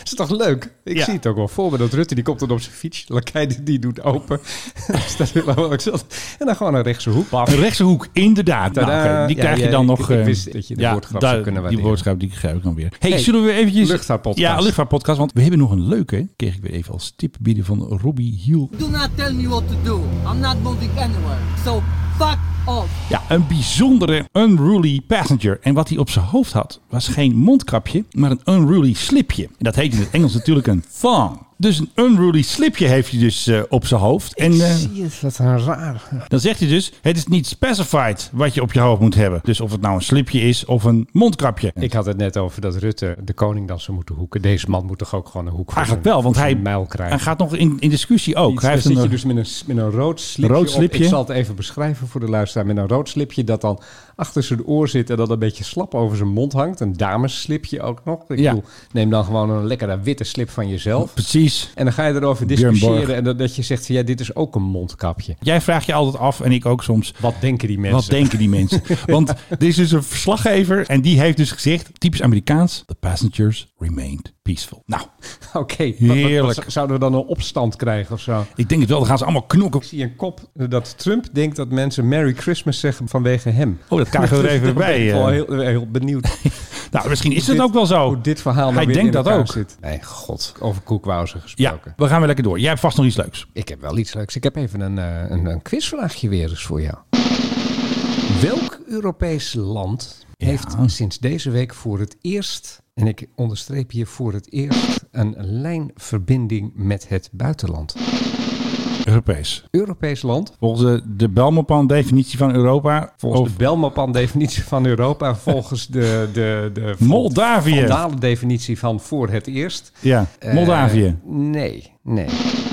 Speaker 9: Is toch leuk? Ik
Speaker 8: Ja.
Speaker 9: zie het ook wel voor me. Dat Rutte die komt dan op zijn fiets. Lakij die, die doet open. Daar staat Willem Alexander. en dan gewoon een rechtse hoek. Baf.
Speaker 8: Een rechtse hoek, inderdaad. Nou,
Speaker 9: Tadaa.
Speaker 8: oké, die
Speaker 9: Ja,
Speaker 8: krijg je
Speaker 9: ja,
Speaker 8: dan
Speaker 9: ik-
Speaker 8: nog.
Speaker 9: ik
Speaker 8: eh,
Speaker 9: wist dat je de woordgrap zou kunnen
Speaker 8: Die
Speaker 9: waarderen.
Speaker 8: woordschap die geef ik dan weer. Hey,
Speaker 9: Hey,
Speaker 8: zullen we eventjes...
Speaker 9: luchtvaartpodcast.
Speaker 8: Ja, luchtvaartpodcast. Want we hebben nog een leuke. Kreeg ik weer even als tip bieden van Robbie Hiel.
Speaker 10: Do not tell me what to do. I'm not moving anywhere. So fuck off.
Speaker 8: Ja, een bijzondere unruly passenger. En wat hij op zijn hoofd had, was geen mondkapje, maar een unruly slipje. En dat heet in het Engels natuurlijk een thong. Dus een unruly slipje heeft hij dus eh, op zijn hoofd. En, eh,
Speaker 9: Jezus, wat een raar.
Speaker 8: Dan zegt hij dus, het is niet specified wat je op je hoofd moet hebben. Dus of het nou een slipje is of een mondkapje.
Speaker 9: Ik had het net over dat Rutte de koning dan zou moeten hoeken. Deze man moet toch ook gewoon een hoek voor
Speaker 8: Eigenlijk
Speaker 9: zijn-
Speaker 8: wel, want
Speaker 9: voor zijn
Speaker 8: hij,
Speaker 9: mijl
Speaker 8: hij
Speaker 9: krijgen.
Speaker 8: gaat nog in, in discussie ook.
Speaker 9: Iets-
Speaker 8: Hij
Speaker 9: dan
Speaker 8: heeft
Speaker 9: zit je
Speaker 8: een, eh,
Speaker 9: dus met een, met een rood slipje
Speaker 8: Rood
Speaker 9: op.
Speaker 8: slipje.
Speaker 9: Ik zal het even beschrijven voor de luisteraar. Met een rood slipje dat dan achter zijn oor zit en dat een beetje slap over zijn mond hangt. Een dameslipje ook nog. Ik
Speaker 8: Ja.
Speaker 9: bedoel, neem dan gewoon een lekkere witte slip van jezelf.
Speaker 8: Precies.
Speaker 9: En dan ga je erover
Speaker 8: Björn Borg.
Speaker 9: discussiëren en dat, dat je zegt, van, ja, dit is ook een mondkapje.
Speaker 8: Jij vraagt je altijd af, en ik ook soms,
Speaker 9: Wat denken die mensen?
Speaker 8: Wat denken die mensen? Want er is dus een verslaggever en die heeft dus gezegd, typisch Amerikaans, the passengers remained peaceful. Nou,
Speaker 9: Oké, wat- wat- wat-
Speaker 8: Heerlijk.
Speaker 9: zouden we dan een opstand krijgen of zo?
Speaker 8: ik denk het wel, dan gaan ze allemaal knokken.
Speaker 9: Ik zie een kop dat Trump denkt dat mensen Merry Christmas zeggen vanwege hem.
Speaker 8: Oh, dat kagen we er even
Speaker 9: Daar ben
Speaker 8: bij.
Speaker 9: Ik wel
Speaker 8: eh.
Speaker 9: heel, heel benieuwd
Speaker 8: Nou, misschien is het
Speaker 9: dit-
Speaker 8: ook wel zo.
Speaker 9: hoe dit verhaal nou
Speaker 8: Hij
Speaker 9: weer
Speaker 8: denkt
Speaker 9: in
Speaker 8: dat
Speaker 9: elkaar
Speaker 8: ook.
Speaker 9: zit. Nee, god. Over koekwauzen
Speaker 8: Ja,
Speaker 9: gesproken.
Speaker 8: we gaan weer lekker door. Jij hebt vast nog iets leuks.
Speaker 9: Ik heb wel iets leuks. Ik heb even een, eh, een, een quizvraagje weer eens voor jou. Welk Europees land heeft sinds deze week voor het eerst, en ik onderstreep hier voor het eerst, een lijnverbinding met het buitenland?
Speaker 8: Europees.
Speaker 9: Europees land,
Speaker 8: Volgens de, de Belmopan-definitie van Europa.
Speaker 9: volgens
Speaker 8: of
Speaker 9: de Belmopan-definitie van Europa, volgens de, de, de
Speaker 8: Moldavië.
Speaker 9: vandalen-definitie van voor het eerst.
Speaker 8: ja, Moldavië.
Speaker 9: Eh, nee, nee.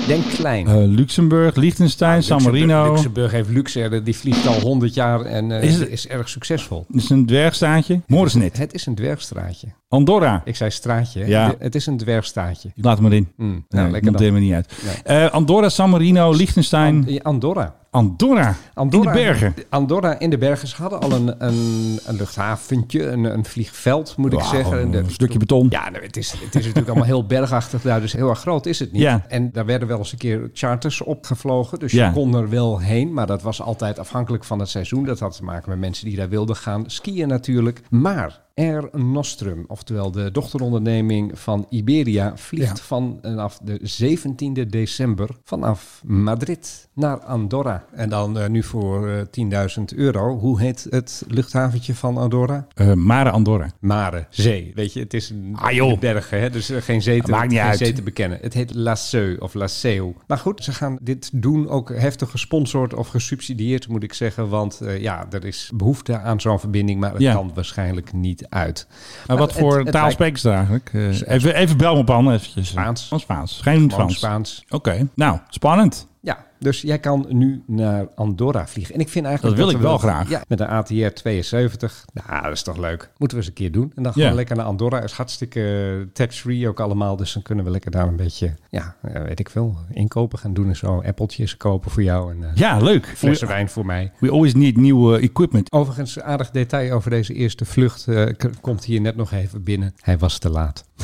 Speaker 9: Denk klein.
Speaker 8: Eh, Luxemburg, Liechtenstein, San Marino.
Speaker 9: Ah, Luxemburg, Luxemburg heeft Luxair, die vliegt al 100 jaar en eh,
Speaker 8: Is
Speaker 9: is,
Speaker 8: het-
Speaker 9: erg succesvol.
Speaker 8: Dat is een dwergstaatje. Morisnet.
Speaker 9: Het is een dwergstraatje.
Speaker 8: Andorra.
Speaker 9: Ik zei straatje. hè?
Speaker 8: Ja.
Speaker 9: Het is een dwergstraatje.
Speaker 8: Laat hem erin.
Speaker 9: Mm, nou,
Speaker 8: Nee,
Speaker 9: lekker
Speaker 8: komt
Speaker 9: dan.
Speaker 8: helemaal niet uit. Eh, Andorra, San Marino, Liechtenstein,
Speaker 9: Ja, Andorra.
Speaker 8: Andorra.
Speaker 9: Andorra.
Speaker 8: In de bergen.
Speaker 9: Andorra in de bergen. Ze hadden al een, een, een luchthaventje, een, een vliegveld moet ik
Speaker 8: Wauw,
Speaker 9: zeggen. En de-
Speaker 8: een stukje beton.
Speaker 9: Ja, nou, het, is, het is natuurlijk allemaal heel bergachtig daar, dus heel erg groot is het niet.
Speaker 8: Ja.
Speaker 9: En daar werden wel eens een keer charters opgevlogen, dus
Speaker 8: Ja.
Speaker 9: je kon er wel heen. Maar dat was altijd afhankelijk van het seizoen. Dat had te maken met mensen die daar wilden gaan skiën natuurlijk. Maar... Air Nostrum, oftewel de dochteronderneming van Iberia, vliegt vanaf de 17e december vanaf Madrid naar Andorra. En dan eh, nu voor eh, 10.000 euro. Hoe heet het luchthaventje van Andorra?
Speaker 8: Eh, Mare Andorra.
Speaker 9: Mare, zee. Weet je, het is een
Speaker 8: Ah, joh.
Speaker 9: de bergen, hè? dus eh, geen zee te,
Speaker 8: Maakt niet
Speaker 9: geen
Speaker 8: uit.
Speaker 9: zee te bekennen. Het heet La Seu of La Seu. Maar goed, ze gaan dit doen ook heftig gesponsord of gesubsidieerd, moet ik zeggen. Want eh, ja, er is behoefte aan zo'n verbinding, maar het
Speaker 8: Ja.
Speaker 9: kan waarschijnlijk niet uit.
Speaker 8: Maar wat
Speaker 9: het-
Speaker 8: voor
Speaker 9: het
Speaker 8: taal
Speaker 9: lijkt
Speaker 8: spreken ze daar eigenlijk? Eh, even, even bel me op aan. Eventjes.
Speaker 9: Spaans.
Speaker 8: Oh, Spaans. Geen
Speaker 9: gewoon
Speaker 8: Frans.
Speaker 9: Spaans.
Speaker 8: Oké, nou, spannend.
Speaker 9: Ja, dus jij kan nu naar Andorra vliegen. En ik vind eigenlijk...
Speaker 8: Dat wil
Speaker 9: we
Speaker 8: ik wel graag.
Speaker 9: Ja, met een ATR 72. Nou, dat is toch leuk. Moeten we eens een keer doen. En dan
Speaker 8: Ja.
Speaker 9: gewoon lekker naar Andorra. is hartstikke eh, tax-free ook allemaal. Dus dan kunnen we lekker daar een beetje, ja, eh, weet ik veel, inkopen gaan doen. En zo appeltjes kopen voor jou. En eh
Speaker 8: Ja, leuk.
Speaker 9: flessen
Speaker 8: We,
Speaker 9: wijn voor mij.
Speaker 8: we always need new eh, equipment.
Speaker 9: Overigens, aardig detail over deze eerste vlucht. eh, k- komt hier net nog even binnen. Hij was te laat.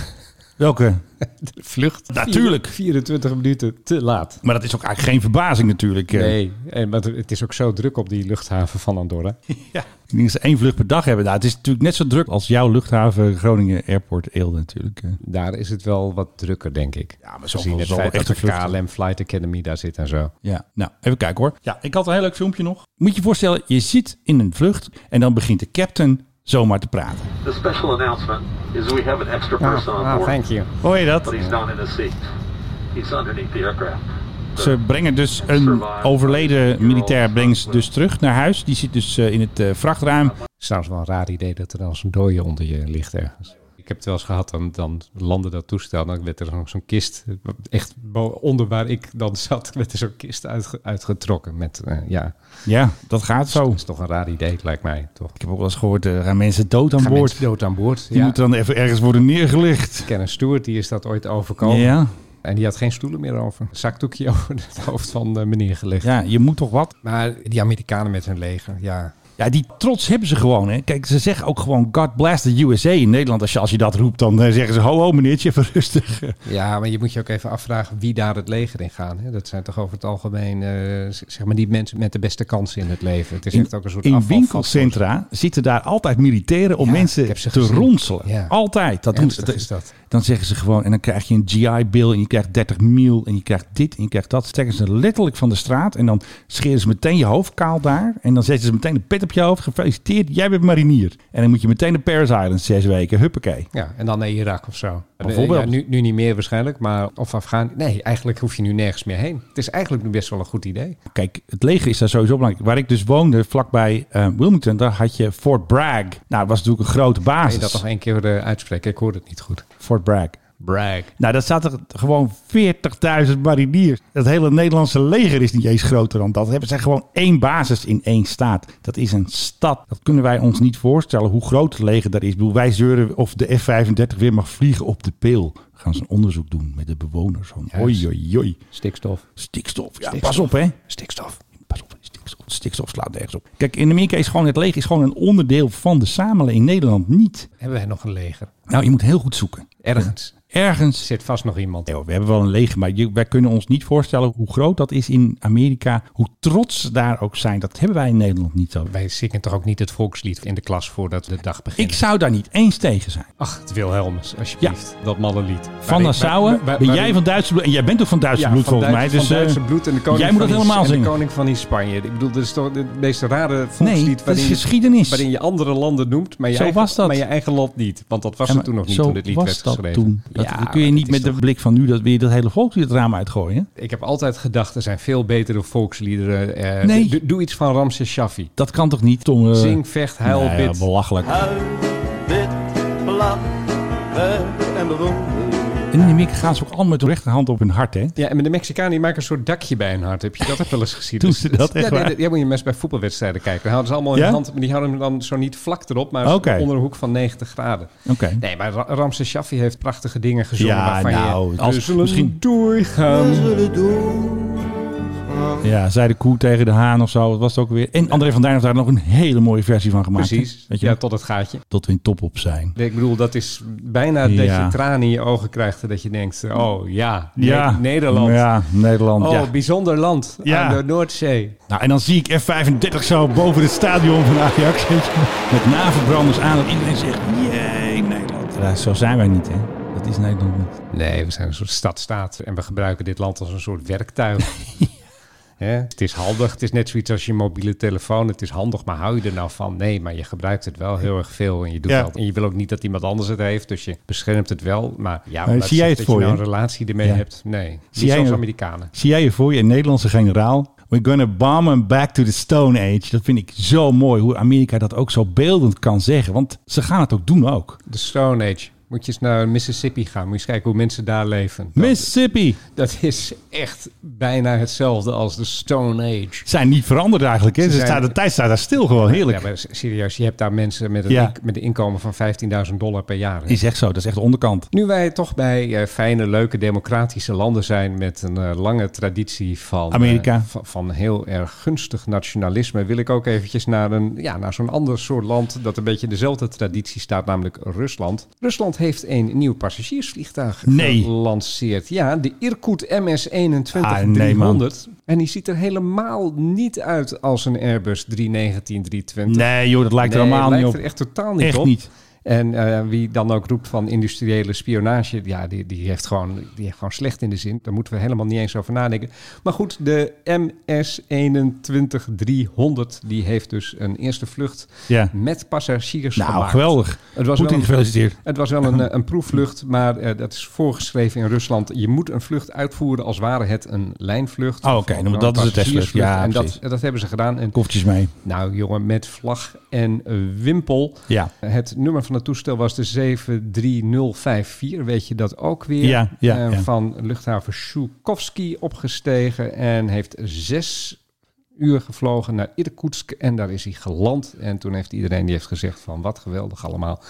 Speaker 8: Welke?
Speaker 9: De vlucht?
Speaker 8: Natuurlijk.
Speaker 9: 24 minuten te laat.
Speaker 8: Maar dat is ook eigenlijk geen verbazing natuurlijk. eh.
Speaker 9: Nee, en want het is ook zo druk op die luchthaven van Andorra.
Speaker 8: Ja. Ik denk dat ze één vlucht per dag hebben. Nou, het is natuurlijk net zo druk als jouw luchthaven Groningen Airport Eelde natuurlijk. eh.
Speaker 9: Daar is het wel wat drukker, denk ik.
Speaker 8: Ja, maar zo-
Speaker 9: Gezien het
Speaker 8: zo-
Speaker 9: feit dat
Speaker 8: echte
Speaker 9: de
Speaker 8: vluchten.
Speaker 9: KLM Flight Academy daar zit en zo.
Speaker 8: Ja, nou, even kijken hoor. Ja, ik had een heel leuk filmpje nog. Moet je je voorstellen, je zit in een vlucht en dan begint de captain zomaar te praten.
Speaker 1: The special announcement is we have an extra
Speaker 9: Ah,
Speaker 1: person on
Speaker 9: ah,
Speaker 1: board,
Speaker 9: thank you.
Speaker 8: Hoor je dat?
Speaker 1: but he's not in his seat. He's underneath the aircraft.
Speaker 8: Ze brengen dus een overleden militair brengen ze dus terug naar huis. Die zit dus eh, in het eh, vrachtruim.
Speaker 9: Het is trouwens wel een raar idee dat er als een dooie onder je ligt ergens. Ik heb het wel eens gehad, dan, dan landde dat toestel. Dan werd er zo'n zo'n kist, echt bo- onder waar ik dan zat, werd er zo'n kist uitge- uitgetrokken. Met, eh, ja,
Speaker 8: Ja, dat gaat zo.
Speaker 9: dat is toch een raar idee, lijkt mij. Toch?
Speaker 8: Ik heb ook wel eens gehoord, eh, er gaan mensen dood aan
Speaker 9: Gaan
Speaker 8: boord.
Speaker 9: mensen dood aan boord. eh,
Speaker 8: Die
Speaker 9: ja.
Speaker 8: moeten dan even ergens worden neergelegd.
Speaker 9: Ken een Stewart, die is dat ooit overkomen.
Speaker 8: Ja.
Speaker 9: En die had geen stoelen meer over. Zakdoekje over het hoofd van de meneer gelegd.
Speaker 8: ja, je moet toch wat?
Speaker 9: Maar die Amerikanen met hun leger, ja.
Speaker 8: Ja, die trots hebben ze gewoon. Hè. Kijk, ze zeggen ook gewoon God bless the USA in Nederland. Als je, als je dat roept, dan eh, zeggen ze ho ho meneertje, even rustig.
Speaker 9: Ja, maar je moet je ook even afvragen wie daar het leger in gaan. Hè? Dat zijn toch over het algemeen eh, z- zeg maar die mensen met de beste kansen in het leven. Het is
Speaker 8: In,
Speaker 9: echt ook een soort
Speaker 8: in
Speaker 9: afvalfactor.
Speaker 8: winkelcentra zitten daar altijd militairen om
Speaker 9: Ja,
Speaker 8: mensen
Speaker 9: ik heb ze
Speaker 8: te
Speaker 9: gezien.
Speaker 8: ronselen.
Speaker 9: Ja.
Speaker 8: Altijd. Dat doen ze.
Speaker 9: Ernstig is dat.
Speaker 8: Dan zeggen ze gewoon, en dan krijg je een GI-bill en je krijgt 30 mil en je krijgt dit en je krijgt dat. Stekken ze letterlijk van de straat en dan scheren ze meteen je hoofd kaal daar. En dan zetten ze meteen een pet op je hoofd. Gefeliciteerd, jij bent marinier. En dan moet je meteen naar Paris Island zes weken. Huppakee.
Speaker 9: Ja, en dan naar Irak of zo. Eh,
Speaker 8: Bijvoorbeeld.
Speaker 9: Ja, nu, nu niet meer waarschijnlijk, maar of Afghaan. Nee, eigenlijk hoef je nu nergens meer heen. Het is eigenlijk nu best wel een goed idee.
Speaker 8: Kijk, het leger is daar sowieso belangrijk. Waar ik dus woonde, vlakbij eh, Wilmington, daar had je Fort Bragg. Nou, dat was natuurlijk een grote
Speaker 9: Kan je
Speaker 8: basis.
Speaker 9: dat nog één keer eh, uitspreken? Ik hoor het niet goed.
Speaker 8: Fort Bragg.
Speaker 9: Brag.
Speaker 8: Nou, dat staat er gewoon 40.000 mariniers. Het hele Nederlandse leger is niet eens groter dan dat. Dan hebben zij gewoon één basis in één staat. Dat is een stad. Dat kunnen wij ons niet voorstellen hoe groot het leger daar is. Ik bedoel, wij zeuren of de F-35 weer mag vliegen op de pil. Gaan ze een onderzoek doen met de bewoners. Van,
Speaker 9: Juist.
Speaker 8: oi, oi, oi.
Speaker 9: Stikstof.
Speaker 8: Stikstof. Ja,
Speaker 9: Stikstof.
Speaker 8: pas op hè.
Speaker 9: Stikstof.
Speaker 8: Pas op, stikstof, stikstof slaat nergens op. Kijk, in Amerika is gewoon het leger is gewoon een onderdeel van de samenleving. In Nederland niet.
Speaker 9: Hebben wij nog een leger?
Speaker 8: Nou, je moet heel goed zoeken.
Speaker 9: Ergens
Speaker 8: Ergens
Speaker 9: zit vast nog iemand.
Speaker 8: ja, we hebben wel een leger, maar je- wij kunnen ons niet voorstellen hoe groot dat is in Amerika. Hoe trots ze daar ook zijn. Dat hebben wij in Nederland niet zo.
Speaker 9: Wij zingen toch ook niet het volkslied in de klas voordat de dag begint?
Speaker 8: Ik zou daar niet eens tegen zijn.
Speaker 9: Ach, het Wilhelmus, alsjeblieft. Dat mannenlied.
Speaker 8: Van Nassau, ben jij van Duitse bloed? En jij bent ook van Duitse
Speaker 9: ja,
Speaker 8: bloed
Speaker 9: van
Speaker 8: volgens
Speaker 9: Duits-
Speaker 8: mij. Dus,
Speaker 9: van Duitse
Speaker 8: eh,
Speaker 9: bloed en de koning,
Speaker 8: jij moet
Speaker 9: van
Speaker 8: dat
Speaker 9: die-
Speaker 8: helemaal
Speaker 9: en de
Speaker 8: zingen.
Speaker 9: koning van die Spanje. Ik bedoel, dat is toch het meest rare volkslied
Speaker 8: Nee, dat is
Speaker 9: waarin,
Speaker 8: geschiedenis.
Speaker 9: waarin je andere landen noemt, maar je,
Speaker 8: Zo
Speaker 9: eigen,
Speaker 8: was dat.
Speaker 9: maar je eigen land niet. Want dat
Speaker 8: Ja,
Speaker 9: was er
Speaker 8: maar
Speaker 9: toen nog niet,
Speaker 8: zo
Speaker 9: toen dit lied
Speaker 8: was
Speaker 9: werd
Speaker 8: dat
Speaker 9: geschreven.
Speaker 8: Toen. Dat
Speaker 9: Ja,
Speaker 8: kun je
Speaker 9: maar
Speaker 8: niet
Speaker 9: dit is
Speaker 8: met de
Speaker 9: toch-
Speaker 8: blik van nu dat weer dat hele volk het raam uitgooien.
Speaker 9: Ik heb altijd gedacht, er zijn veel betere volksliederen. Eh,
Speaker 8: Nee.
Speaker 9: doe- Doe iets van Ramses Shaffi.
Speaker 8: Dat kan toch niet, Tom? eh,
Speaker 9: Zing, vecht, huil,
Speaker 8: nou ja,
Speaker 9: bid.
Speaker 8: belachelijk.
Speaker 7: Dit blad, werk en bewonder.
Speaker 8: En in Amerika gaan ze ook allemaal met hun rechterhand op hun hart, hè?
Speaker 9: Ja, en met de Mexicaan die maken een soort dakje bij hun hart. Heb je dat ook wel eens gezien? Dus
Speaker 8: Doen ze dat echt
Speaker 9: ja, nee,
Speaker 8: waar?
Speaker 9: nee, ja, moet je mensen bij voetbalwedstrijden kijken. Dan houden ze allemaal in
Speaker 8: Ja?
Speaker 9: de hand, maar die houden hem dan zo niet vlak erop, maar
Speaker 8: Oké.
Speaker 9: onder een hoek van 90 graden.
Speaker 8: Oké.
Speaker 9: Nee, maar Ra- Ramses Shaffi heeft prachtige dingen gezongen
Speaker 8: Ja,
Speaker 9: waarvan
Speaker 8: nou,
Speaker 9: je...
Speaker 8: als-
Speaker 9: we zullen
Speaker 8: misschien-
Speaker 9: doorgaan.
Speaker 8: Ja, zei de koe tegen de haan of zo. Dat was het ook weer. En André van Duin heeft daar nog een hele mooie versie van gemaakt. hè?
Speaker 9: Precies.
Speaker 8: Weet je,
Speaker 9: ja,
Speaker 8: nog?
Speaker 9: tot het gaatje.
Speaker 8: tot we in top op zijn.
Speaker 9: Nee, Ik bedoel, dat is bijna dat
Speaker 8: Ja.
Speaker 9: je tranen in je ogen krijgt en dat je denkt, oh ja, Ne-
Speaker 8: Ja.
Speaker 9: Nederland.
Speaker 8: Ja, Nederland.
Speaker 9: Oh,
Speaker 8: ja.
Speaker 9: bijzonder land
Speaker 8: Ja.
Speaker 9: aan de Noordzee.
Speaker 8: Nou, en dan zie ik F35 zo boven het stadion van Ajax. weet je, Met naverbranders aan. En iedereen zegt, jee, Nederland. Ja, zo zijn wij niet, hè. Dat is Nederland niet.
Speaker 9: Nee, we zijn een soort stadstaat en we gebruiken dit land als een soort werktuig. Hè? Het is handig, het is net zoiets als je mobiele telefoon. Het is handig, maar hou je er nou van? Nee, maar je gebruikt het wel heel erg veel en je doet
Speaker 8: Ja.
Speaker 9: dat. En je wil ook niet dat iemand anders het heeft, dus je beschermt het wel. Maar ja,
Speaker 8: Nee,
Speaker 9: laat
Speaker 8: zie jij
Speaker 9: zitten
Speaker 8: het
Speaker 9: dat
Speaker 8: voor
Speaker 9: je nou
Speaker 8: je?
Speaker 9: een relatie ermee
Speaker 8: Ja.
Speaker 9: hebt? Nee,
Speaker 8: Zie
Speaker 9: niet
Speaker 8: jij
Speaker 9: zoals
Speaker 8: het?
Speaker 9: Amerikanen.
Speaker 8: Zie jij je voor je een Nederlandse generaal? We're gonna bomb them back to the Stone Age. Dat vind ik zo mooi, hoe Amerika dat ook zo beeldend kan zeggen. Want ze gaan het ook doen ook.
Speaker 9: De Stone Age. Moet je eens naar Mississippi gaan. Moet je eens kijken hoe mensen daar leven. Dat-
Speaker 8: Mississippi.
Speaker 9: Dat is echt bijna hetzelfde als de Stone Age.
Speaker 8: Zijn niet veranderd eigenlijk, hè.
Speaker 9: Ze
Speaker 8: Ze
Speaker 9: zijn-
Speaker 8: staan, de tijd staat daar stil gewoon, heerlijk.
Speaker 9: Ja, maar serieus, je hebt daar mensen met een,
Speaker 8: Ja.
Speaker 9: ink- met een inkomen van 15.000 dollar per jaar. hè?
Speaker 8: Is echt zo, dat is echt de onderkant.
Speaker 9: Nu wij toch bij eh, fijne, leuke, democratische landen zijn met een eh, lange traditie van, eh,
Speaker 8: Amerika.
Speaker 9: van, van heel erg gunstig nationalisme, wil ik ook eventjes naar, een, ja, naar zo'n ander soort land dat een beetje dezelfde traditie staat, namelijk Rusland. Rusland heeft een nieuw passagiersvliegtuig
Speaker 8: Nee.
Speaker 9: gelanceerd. Ja, de Irkut MS-21
Speaker 8: Ah, nee,
Speaker 9: 300. en die ziet er helemaal niet uit als een Airbus 319-320.
Speaker 8: Nee joh, dat lijkt er
Speaker 9: Nee,
Speaker 8: allemaal
Speaker 9: lijkt
Speaker 8: niet op.
Speaker 9: er echt totaal niet
Speaker 8: Echt
Speaker 9: op.
Speaker 8: niet.
Speaker 9: En eh, wie dan ook roept van industriële spionage, ja, die, die, heeft gewoon, die heeft gewoon slecht in de zin. Daar moeten we helemaal niet eens over nadenken. Maar goed, de MS-21-300, die heeft dus een eerste vlucht
Speaker 8: Ja.
Speaker 9: met passagiers
Speaker 8: Nou,
Speaker 9: gemaakt.
Speaker 8: geweldig.
Speaker 9: Het was
Speaker 8: Poetin
Speaker 9: wel een-
Speaker 8: gefeliciteerd.
Speaker 9: het was wel een, eh, een proefvlucht, maar eh, dat is voorgeschreven in Rusland. Je moet een vlucht uitvoeren als ware het een lijnvlucht.
Speaker 8: Oh,
Speaker 9: Of
Speaker 8: oké,
Speaker 9: een
Speaker 8: dan moet dat is de testvlucht.
Speaker 9: passagiersvlucht.
Speaker 8: Ja,
Speaker 9: en dat,
Speaker 8: precies.
Speaker 9: dat hebben ze gedaan. En
Speaker 8: Koffertjes mee.
Speaker 9: nou jongen, met vlag en eh, wimpel.
Speaker 8: Ja.
Speaker 9: Het nummer van het toestel was de 73054. Weet je dat ook weer?
Speaker 8: Ja, ja,
Speaker 9: Eh,
Speaker 8: ja.
Speaker 9: Van luchthaven Shukovsky opgestegen en heeft zes uur gevlogen naar Irkutsk. En daar is hij geland. En toen heeft iedereen die heeft gezegd van wat geweldig allemaal.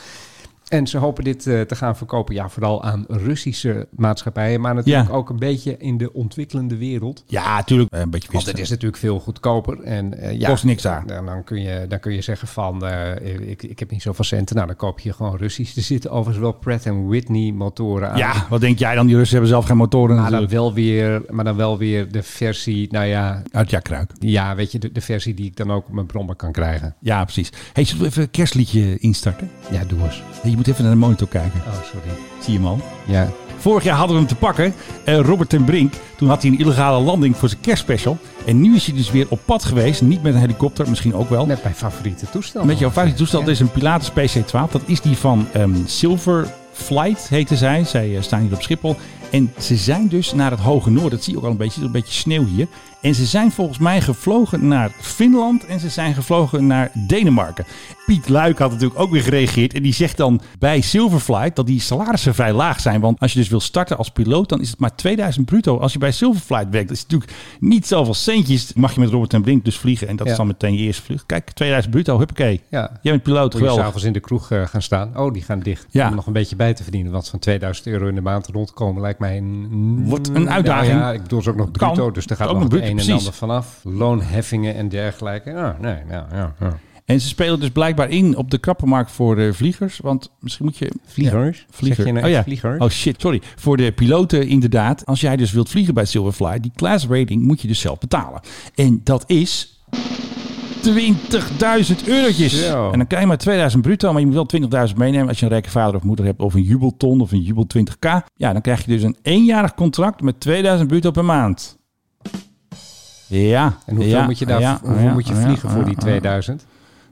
Speaker 9: En ze hopen dit eh, te gaan verkopen, ja, vooral aan Russische maatschappijen, maar natuurlijk
Speaker 8: Ja.
Speaker 9: ook een beetje in de ontwikkelende wereld.
Speaker 8: Ja, natuurlijk. Een beetje
Speaker 9: Want het
Speaker 8: wisten.
Speaker 9: is natuurlijk veel goedkoper. En, eh, ja,
Speaker 8: Kost niks daar.
Speaker 9: Dan, dan, kun je, dan kun je zeggen van, eh, ik, ik heb niet zoveel centen. Nou, dan koop je gewoon Russisch. Er zitten overigens wel Pratt Whitney motoren aan.
Speaker 8: Ja, wat denk jij dan? Die Russen hebben zelf geen motoren
Speaker 9: Maar dan,
Speaker 8: natuurlijk.
Speaker 9: wel weer, maar dan wel weer de versie, nou ja,
Speaker 8: Uit jouw kruik.
Speaker 9: ja weet je, de, de versie die ik dan ook op mijn brommer kan krijgen.
Speaker 8: Ja, precies. Hey, zullen we even een kerstliedje instarten?
Speaker 9: Ja, doe eens.
Speaker 8: Je moet even naar de monitor kijken.
Speaker 9: Oh, sorry.
Speaker 8: Zie je hem al?
Speaker 9: Ja,
Speaker 8: Vorig jaar hadden we hem te pakken. Eh, Robert ten Brink. Toen had hij een illegale landing voor zijn kerstspecial. En nu is hij dus weer op pad geweest. Niet met een helikopter, misschien ook wel.
Speaker 9: net mijn favoriete toestel.
Speaker 8: Met jouw favoriete toestel, dat is een Pilatus PC-12. Dat is die van ehm, Silver Flight, heette zij. Zij eh, staan hier op Schiphol. En ze zijn dus naar het hoge noorden. Dat zie je ook al een beetje. Er is een beetje sneeuw hier. En ze zijn volgens mij gevlogen naar Finland en ze zijn gevlogen naar Denemarken. Piet Luik had natuurlijk ook weer gereageerd. En die zegt dan bij Silverflight dat die salarissen vrij laag zijn. Want als je dus wil starten als piloot, dan is het maar 2000 bruto. Als je bij Silverflight werkt, dat is natuurlijk niet zoveel centjes. Mag je met Robert en Brink dus vliegen en dat
Speaker 9: Ja.
Speaker 8: is dan meteen je eerste vlucht. Kijk, 2000 bruto, huppakee.
Speaker 9: Ja.
Speaker 8: Jij bent piloot,
Speaker 9: Moet je
Speaker 8: geweldig.
Speaker 9: s'avonds in de kroeg eh, gaan staan. Oh, die gaan dicht.
Speaker 8: Ja.
Speaker 9: Om nog een beetje bij te verdienen. Want van 2000 euro in de maand rondkomen lijkt mij een...
Speaker 8: Wordt een uitdaging.
Speaker 9: Nou ja, ik doe ze ook nog
Speaker 8: Kan.
Speaker 9: bruto. Dus daar gaat
Speaker 8: Ook
Speaker 9: nog
Speaker 8: nog
Speaker 9: het een
Speaker 8: bruto,
Speaker 9: en
Speaker 8: precies.
Speaker 9: ander vanaf. Loonheffingen en dergelijke. Ja, nee, ja, ja, ja.
Speaker 8: En ze spelen dus blijkbaar in op de krappenmarkt voor de vliegers. Want misschien moet je...
Speaker 9: Vliegers?
Speaker 8: Ja, vlieger.
Speaker 9: Zeg je nou
Speaker 8: oh,
Speaker 9: echt
Speaker 8: ja.
Speaker 9: vliegers?
Speaker 8: Oh shit, sorry. Voor de piloten inderdaad. Als jij dus wilt vliegen bij Silverfly, die class rating moet je dus zelf betalen. En dat is 20.000 eurotjes.
Speaker 9: Zo.
Speaker 8: En dan krijg je maar 2000 bruto, maar je moet wel 20.000 meenemen als je een rijke vader of moeder hebt. Of een jubelton of een jubel 20k. Ja, dan krijg je dus een eenjarig contract met 2000 bruto per maand. Ja.
Speaker 9: En hoeveel
Speaker 8: ja,
Speaker 9: moet je, daar,
Speaker 8: ja,
Speaker 9: hoeveel
Speaker 8: ja,
Speaker 9: moet je
Speaker 8: ja,
Speaker 9: vliegen voor
Speaker 8: ja,
Speaker 9: die
Speaker 8: ja.
Speaker 9: 2000?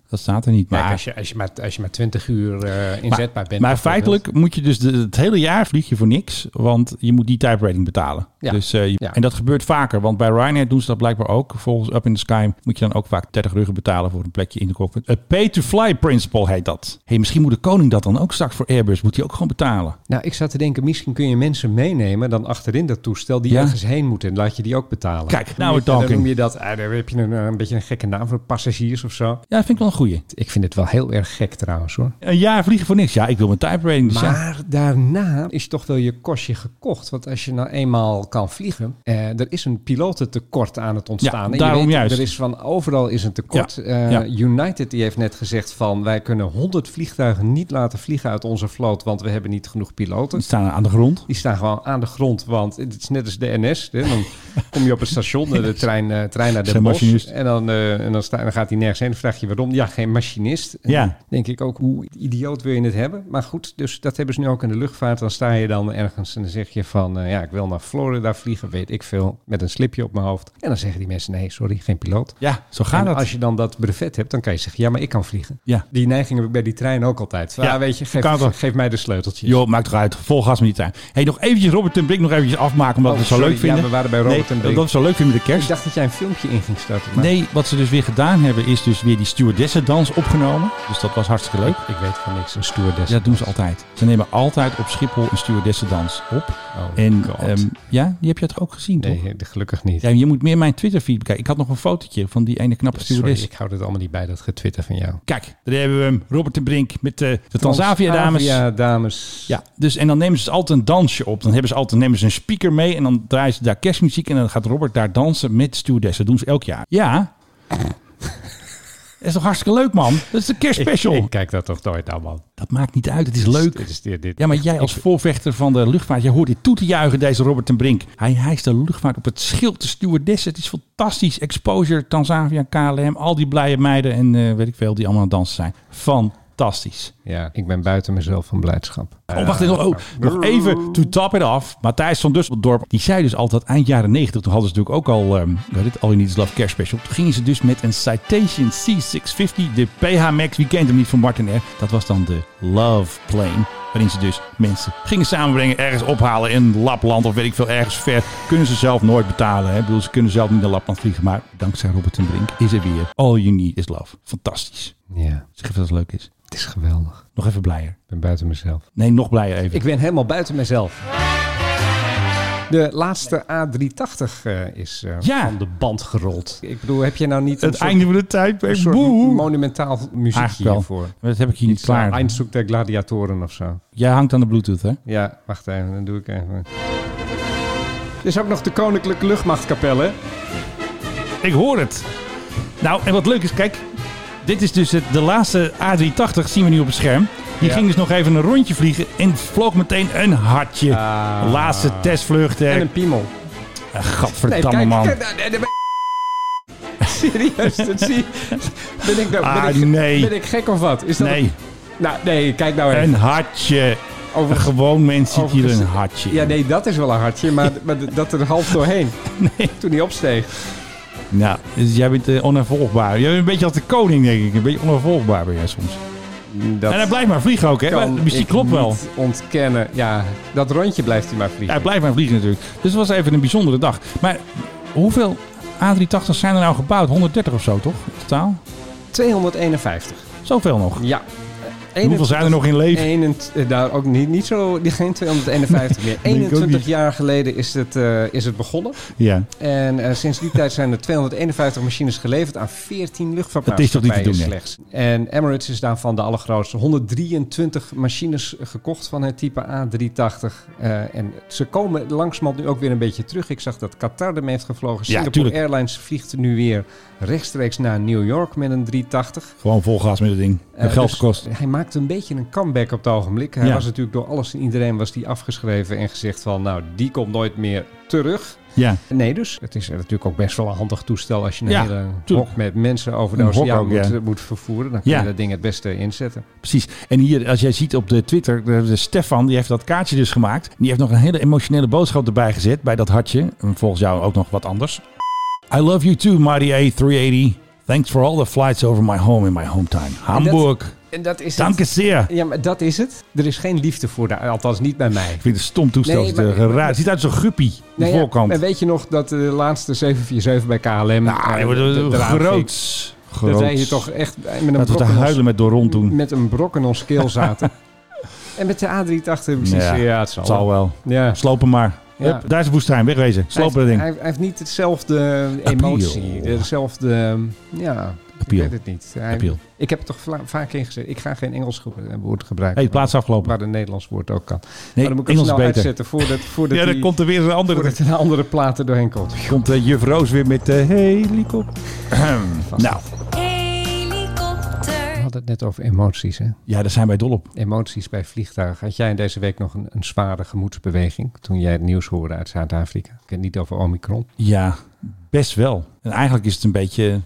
Speaker 8: Dat staat er niet. Maar,
Speaker 9: Kijk, als je, als, je maar, als je maar 20 uur eh, inzetbaar bent.
Speaker 8: maar
Speaker 9: bijvoorbeeld.
Speaker 8: feitelijk moet je dus de- het hele jaar vlieg je voor niks, want je moet die type rating betalen.
Speaker 9: Ja.
Speaker 8: Dus, eh, je-
Speaker 9: Ja.
Speaker 8: En dat gebeurt vaker, want bij Ryanair doen ze dat blijkbaar ook. Volgens Up in the Sky moet je dan ook vaak 30 ruggen betalen voor een plekje in de cockpit. Eh, Het pay-to-fly principle heet dat. hey, misschien moet de koning dat dan ook straks voor Airbus, moet hij ook gewoon betalen.
Speaker 9: Nou, ik zat te denken, misschien kun je mensen meenemen dan achterin dat toestel die
Speaker 8: Ja.
Speaker 9: ergens heen moeten. En laat je die ook betalen.
Speaker 8: Kijk, nou we're
Speaker 9: En dan
Speaker 8: talking.
Speaker 9: noem je dat, eh, dan heb je een, eh, een beetje een gekke naam voor passagiers of zo.
Speaker 8: Ja, dat vind ik wel een goeie.
Speaker 9: Ik vind het wel heel erg gek trouwens hoor.
Speaker 8: Een jaar vliegen voor niks. Ja, ik wil mijn type rating. Dus ja.
Speaker 9: Maar daarna is toch wel je kostje gekocht. Want als je nou eenmaal kan vliegen, eh, er is een pilotentekort aan het ontstaan.
Speaker 8: Ja,
Speaker 9: En je
Speaker 8: daarom
Speaker 9: weet,
Speaker 8: juist.
Speaker 9: Er is van overal is een tekort.
Speaker 8: Ja,
Speaker 9: Eh,
Speaker 8: ja.
Speaker 9: United die heeft net gezegd van wij kunnen 100 vliegtuigen niet laten vliegen uit onze vloot, want we hebben niet genoeg piloten.
Speaker 8: Die staan aan de grond.
Speaker 9: Die staan gewoon aan de grond, want het is net als de NS. Hè? Dan kom je op het station, de trein, eh, trein naar Den
Speaker 8: Geen
Speaker 9: Bosch.
Speaker 8: machinist.
Speaker 9: En dan, eh, en dan, sta, dan gaat hij nergens heen. Dan vraag je waarom. Ja, geen machinist. En
Speaker 8: Ja.
Speaker 9: dan denk ik ook, hoe idioot wil je het hebben? Maar goed, dus dat hebben ze nu ook in de luchtvaart. Dan sta je dan ergens en dan zeg je van... eh, ja, ik wil naar Florida vliegen, weet ik veel. Met een slipje op mijn hoofd. En dan zeggen die mensen, nee, sorry, geen piloot.
Speaker 8: Ja, zo gaat
Speaker 9: en
Speaker 8: dat.
Speaker 9: als je dan dat brevet hebt, dan kan je zeggen... ja, maar ik kan vliegen.
Speaker 8: Ja.
Speaker 9: Die neiging heb ik bij die trein ook altijd. Ja,
Speaker 8: Ja,
Speaker 9: weet je,
Speaker 8: kan wel.
Speaker 9: geef, geef mij de sleuteltjes.
Speaker 8: Joh, maakt toch uit. Vol gas met die trein. hey, nog eventjes Robert en Brink nog eventjes afmaken, omdat we
Speaker 9: Oh,
Speaker 8: het zo
Speaker 9: sorry.
Speaker 8: leuk vinden.
Speaker 9: Ja, we waren bij Robert
Speaker 8: Nee,
Speaker 9: en Brink.
Speaker 8: Dat we het zo leuk vinden met de kerst.
Speaker 9: Ik dacht dat jij een filmpje in ging starten. maar-
Speaker 8: Nee, wat ze dus weer gedaan hebben is dus weer die stewardessendans opgenomen. Dus dat was hartstikke leuk.
Speaker 9: Ik weet van niks, een stewardess.
Speaker 8: Ja, dat doen ze altijd. Ze nemen altijd op Schiphol een stewardessendans op. En ehm, ja, die heb je toch ook gezien, toch?
Speaker 9: Oh, nee, gelukkig niet.
Speaker 8: Ja, je moet meer mijn Twitter-feed bekijken. Ik had nog een fotootje van die ene knappe
Speaker 9: Sorry,
Speaker 8: stewardess.
Speaker 9: ik hou het allemaal niet bij, dat getwitter van jou.
Speaker 8: Kijk, daar hebben we hem. Robert de Brink met eh, de Transavia-dames.
Speaker 9: Ja, dames.
Speaker 8: Ja, dus en dan nemen ze altijd een dansje op. Dan hebben ze altijd nemen ze een speaker mee en dan draaien ze daar kerstmuziek en dan gaat Robert daar dansen met stewardessen. Dat doen ze elk jaar. Ja. Dat is toch hartstikke leuk, man? Dat is de kerstspecial.
Speaker 9: Ik kijk dat toch nooit aan, man.
Speaker 8: Dat maakt niet uit, het is leuk.
Speaker 9: Dit is dit, dit.
Speaker 8: Ja, maar jij als voorvechter van de luchtvaart, jij hoort dit toe te juichen, deze Robert ten Brink. Hij hijst de luchtvaart op het schild, de stewardessen. Het is fantastisch. Exposure, Tanzania, KLM, al die blije meiden en eh, weet ik veel, die allemaal aan het dansen zijn. Fantastisch.
Speaker 9: Ja, ik ben buiten mezelf van blijdschap.
Speaker 8: Oh, wacht even. Oh, nog even to top it off. Matthijs van Dusseldorp, die zei dus altijd eind jaren 90, toen hadden ze natuurlijk ook al ehm weet het, All You Need Is Love Care Special. Toen gingen ze dus met een Citation C650, de PH Max, wie kent hem niet van Martin Air. Dat was dan de Love Plane, waarin ze dus mensen gingen samenbrengen, ergens ophalen in Lapland of weet ik veel, ergens ver. Kunnen ze zelf nooit betalen. Hè? Ik bedoel, ze kunnen zelf niet naar Lapland vliegen, maar dankzij Robert en Brink is er weer All You Need Is Love. Fantastisch.
Speaker 9: Eh, Ja,
Speaker 8: Zeg even dat het leuk is.
Speaker 9: het is geweldig.
Speaker 8: Nog even blijer.
Speaker 9: Ik ben buiten mezelf.
Speaker 8: Nee, nog blijer even.
Speaker 9: Ik ben helemaal buiten mezelf. De laatste A380 eh, is eh,
Speaker 8: Ja.
Speaker 9: van de band gerold. Ik bedoel, heb je nou niet een
Speaker 8: Het
Speaker 9: soort,
Speaker 8: einde van de tijd.
Speaker 9: een soort monumentaal muziekje
Speaker 8: Eigenlijk wel.
Speaker 9: hiervoor?
Speaker 8: Maar dat heb ik hier niet
Speaker 9: Iets eh, klaar.
Speaker 8: klaar.
Speaker 9: Eindzoek der gladiatoren of zo.
Speaker 8: Jij hangt aan de Bluetooth, hè?
Speaker 9: Ja, wacht even, dan doe ik even. Er is ook nog de Koninklijke Luchtmachtkapel, hè?
Speaker 8: Ik hoor het. Nou, en wat leuk is, kijk. Dit is dus het, de laatste A380, zien we nu op het scherm. Die
Speaker 9: Ja.
Speaker 8: ging dus nog even een rondje vliegen en vloog meteen een hartje.
Speaker 9: Ah.
Speaker 8: Laatste testvlucht. hè.
Speaker 9: En een piemel.
Speaker 8: Ah, Gadverdamme,
Speaker 9: kijk,
Speaker 8: man.
Speaker 9: kijk, nou, nee, nee, maar- Serieus, dat zie Ben ik, nou,
Speaker 8: Ah,
Speaker 9: ben, ik,
Speaker 8: nee.
Speaker 9: ben ik gek of wat? Is dat
Speaker 8: Nee,
Speaker 9: Nou, nee, kijk nou even.
Speaker 8: een hartje. Een
Speaker 9: Over,
Speaker 8: gewoon mens ziet hier
Speaker 9: Overigens-
Speaker 8: een hartje.
Speaker 9: ja, nee, dat is wel een hartje, maar, maar d- dat er half doorheen. Toen hij opsteeg.
Speaker 8: Nou, dus jij bent eh, onafvolgbaar. Jij bent een beetje als de koning, denk ik. Een beetje onafvolgbaar ben jij soms.
Speaker 9: Dat
Speaker 8: en hij blijft maar vliegen ook, hè?
Speaker 9: kan
Speaker 8: Maar- Dus die
Speaker 9: ik
Speaker 8: klopt wel.
Speaker 9: niet ontkennen. Ja, dat rondje blijft hij maar
Speaker 8: Ja,
Speaker 9: vliegen.
Speaker 8: hij blijft maar vliegen natuurlijk. Dus het was even een bijzondere dag. Maar hoeveel A380 zijn er nou gebouwd? 130 of zo, toch? In totaal?
Speaker 9: 251.
Speaker 8: Zoveel nog?
Speaker 9: Ja.
Speaker 8: Hoeveel zijn er nog in leven?
Speaker 9: 21, daar ook niet, niet zo, geen 251 meer.
Speaker 8: Nee, ik ook
Speaker 9: 21
Speaker 8: niet.
Speaker 9: jaar geleden is het, eh, is het begonnen.
Speaker 8: Ja.
Speaker 9: En eh, sinds die tijd zijn er 251 machines geleverd aan 14
Speaker 8: Dat is toch niet te
Speaker 9: luchtvaartmaatschappijen
Speaker 8: doen, hè?
Speaker 9: slechts. En Emirates is daarvan de allergrootste. 123 machines gekocht van het type A380. Eh, en ze komen langzamerhand nu ook weer een beetje terug. Ik zag dat Qatar ermee heeft gevlogen.
Speaker 8: Ja,
Speaker 9: Singapore
Speaker 8: tuurlijk.
Speaker 9: Airlines vliegt nu weer rechtstreeks naar New York met een 380.
Speaker 8: Gewoon vol gas met het ding.
Speaker 9: Eh,
Speaker 8: Heeft geld
Speaker 9: dus
Speaker 8: gekost.
Speaker 9: Hij maakte een beetje een comeback op het ogenblik. Hij
Speaker 8: Ja.
Speaker 9: was natuurlijk door alles en iedereen was die afgeschreven en gezegd van nou die komt nooit meer terug.
Speaker 8: Ja.
Speaker 9: Nee, dus het is natuurlijk ook best wel een handig toestel als je een
Speaker 8: Ja,
Speaker 9: hele
Speaker 8: tuurlijk.
Speaker 9: hok met mensen over de
Speaker 8: Een hok
Speaker 9: oceaan
Speaker 8: ook,
Speaker 9: moet,
Speaker 8: ja.
Speaker 9: moet vervoeren. Dan kun
Speaker 8: Ja.
Speaker 9: je dat ding het beste inzetten.
Speaker 8: Precies. En hier, als jij ziet op de Twitter, de, de Stefan, die heeft dat kaartje dus gemaakt. Die heeft nog een hele emotionele boodschap erbij gezet bij dat hartje. En volgens jou ook nog wat anders. I love you too, Mighty A380. Thanks for all the flights over my home in my hometown. Hamburg.
Speaker 9: En dat is
Speaker 8: Dank je
Speaker 9: het.
Speaker 8: zeer.
Speaker 9: Ja, maar dat is het. Er is geen liefde voor, de, althans niet bij mij.
Speaker 8: Ik vind het een stom toestel.
Speaker 9: Nee,
Speaker 8: Het is, eh,
Speaker 9: maar- maar-
Speaker 8: raar. Het ziet uit zo'n guppie. De
Speaker 9: Nou ja,
Speaker 8: voorkant.
Speaker 9: En weet je nog dat eh, de laatste 747 bij KLM...
Speaker 8: Ah,
Speaker 9: eh,
Speaker 8: joh,
Speaker 9: de-
Speaker 8: dat-
Speaker 9: eraan
Speaker 8: groots.
Speaker 9: ving? Dat wij hier
Speaker 8: Groots.
Speaker 9: toch echt met een
Speaker 8: Laten we
Speaker 9: brok
Speaker 8: te
Speaker 9: in ons-
Speaker 8: huilen met Doron toen.
Speaker 9: met een brok in ons keel zaten. en met de A380 precies. Ja, het zal,
Speaker 8: wel.
Speaker 9: Ja.
Speaker 8: Sloop hem maar.
Speaker 9: Ja.
Speaker 8: Hup, daar is de woestijn. Wegwezen. Sloop
Speaker 9: hij,
Speaker 8: dat ding.
Speaker 9: heeft- hij heeft niet hetzelfde emotie.
Speaker 8: Appeal.
Speaker 9: Hetzelfde, ja, ik
Speaker 8: Appeal.
Speaker 9: weet het niet. Hij-
Speaker 8: Appeal.
Speaker 9: Ik heb het toch vla- vaak ingezet. Ik ga geen Engels ge- eh, woord gebruiken.
Speaker 8: Hey, het plaats afgelopen.
Speaker 9: Waar een Nederlands woord ook kan.
Speaker 8: Nee,
Speaker 9: maar dan moet ik
Speaker 8: Engels
Speaker 9: het
Speaker 8: is
Speaker 9: snel
Speaker 8: beter.
Speaker 9: uitzetten voordat, voordat
Speaker 8: Ja, dan
Speaker 9: die-
Speaker 8: komt er weer een andere.
Speaker 9: voordat er een andere plaat er doorheen komt.
Speaker 8: Komt eh, juf Roos weer met de helikopter. nou,
Speaker 9: We hadden het net over emoties, hè?
Speaker 8: ja, daar zijn wij dol op.
Speaker 9: Emoties bij vliegtuigen. Had jij deze week nog een, een zware gemoedsbeweging toen jij het nieuws hoorde uit Zuid-Afrika? Ik heb het niet over Omicron.
Speaker 8: Ja, best wel. En eigenlijk is het een beetje...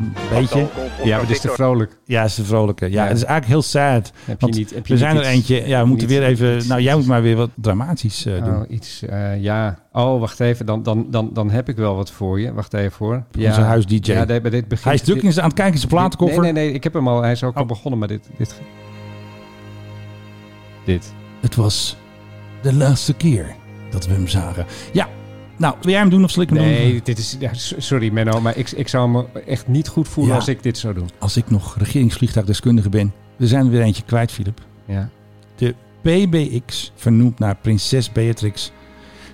Speaker 8: Een beetje...
Speaker 9: Ja, maar dit is te vrolijk.
Speaker 8: Ja, het is een vrolijke. Ja, het is eigenlijk heel sad.
Speaker 9: Heb je
Speaker 8: Want
Speaker 9: niet, heb je
Speaker 8: we
Speaker 9: niet
Speaker 8: zijn er
Speaker 9: iets-
Speaker 8: eentje. Ja, we moeten
Speaker 9: niet-
Speaker 8: weer even... Nou, jij moet maar weer wat dramatisch eh, doen.
Speaker 9: Oh, iets, eh, ja. Oh, wacht even. Dan, dan, dan, dan heb ik wel wat voor je. Wacht even hoor. Ja.
Speaker 8: Onze huis-DJ.
Speaker 9: Ja, nee, maar dit begint,
Speaker 8: Hij is druk
Speaker 9: dit-
Speaker 8: in zijn, aan het kijken in zijn platenkoffer.
Speaker 9: Nee, nee, nee. Ik heb hem al. Hij is ook al begonnen, maar dit... Dit. dit.
Speaker 8: Het was de laatste keer dat we hem zagen. Ja, nou, wil jij hem doen of zal ik hem doen?
Speaker 9: Nee, dit is... ja, s- sorry Menno, maar ik, ik zou me echt niet goed voelen
Speaker 8: Ja.
Speaker 9: als ik dit zou doen.
Speaker 8: Als ik nog regeringsvliegtuigdeskundige ben. We zijn er weer eentje kwijt, Filip.
Speaker 9: Ja.
Speaker 8: De PBX, vernoemd naar prinses Beatrix,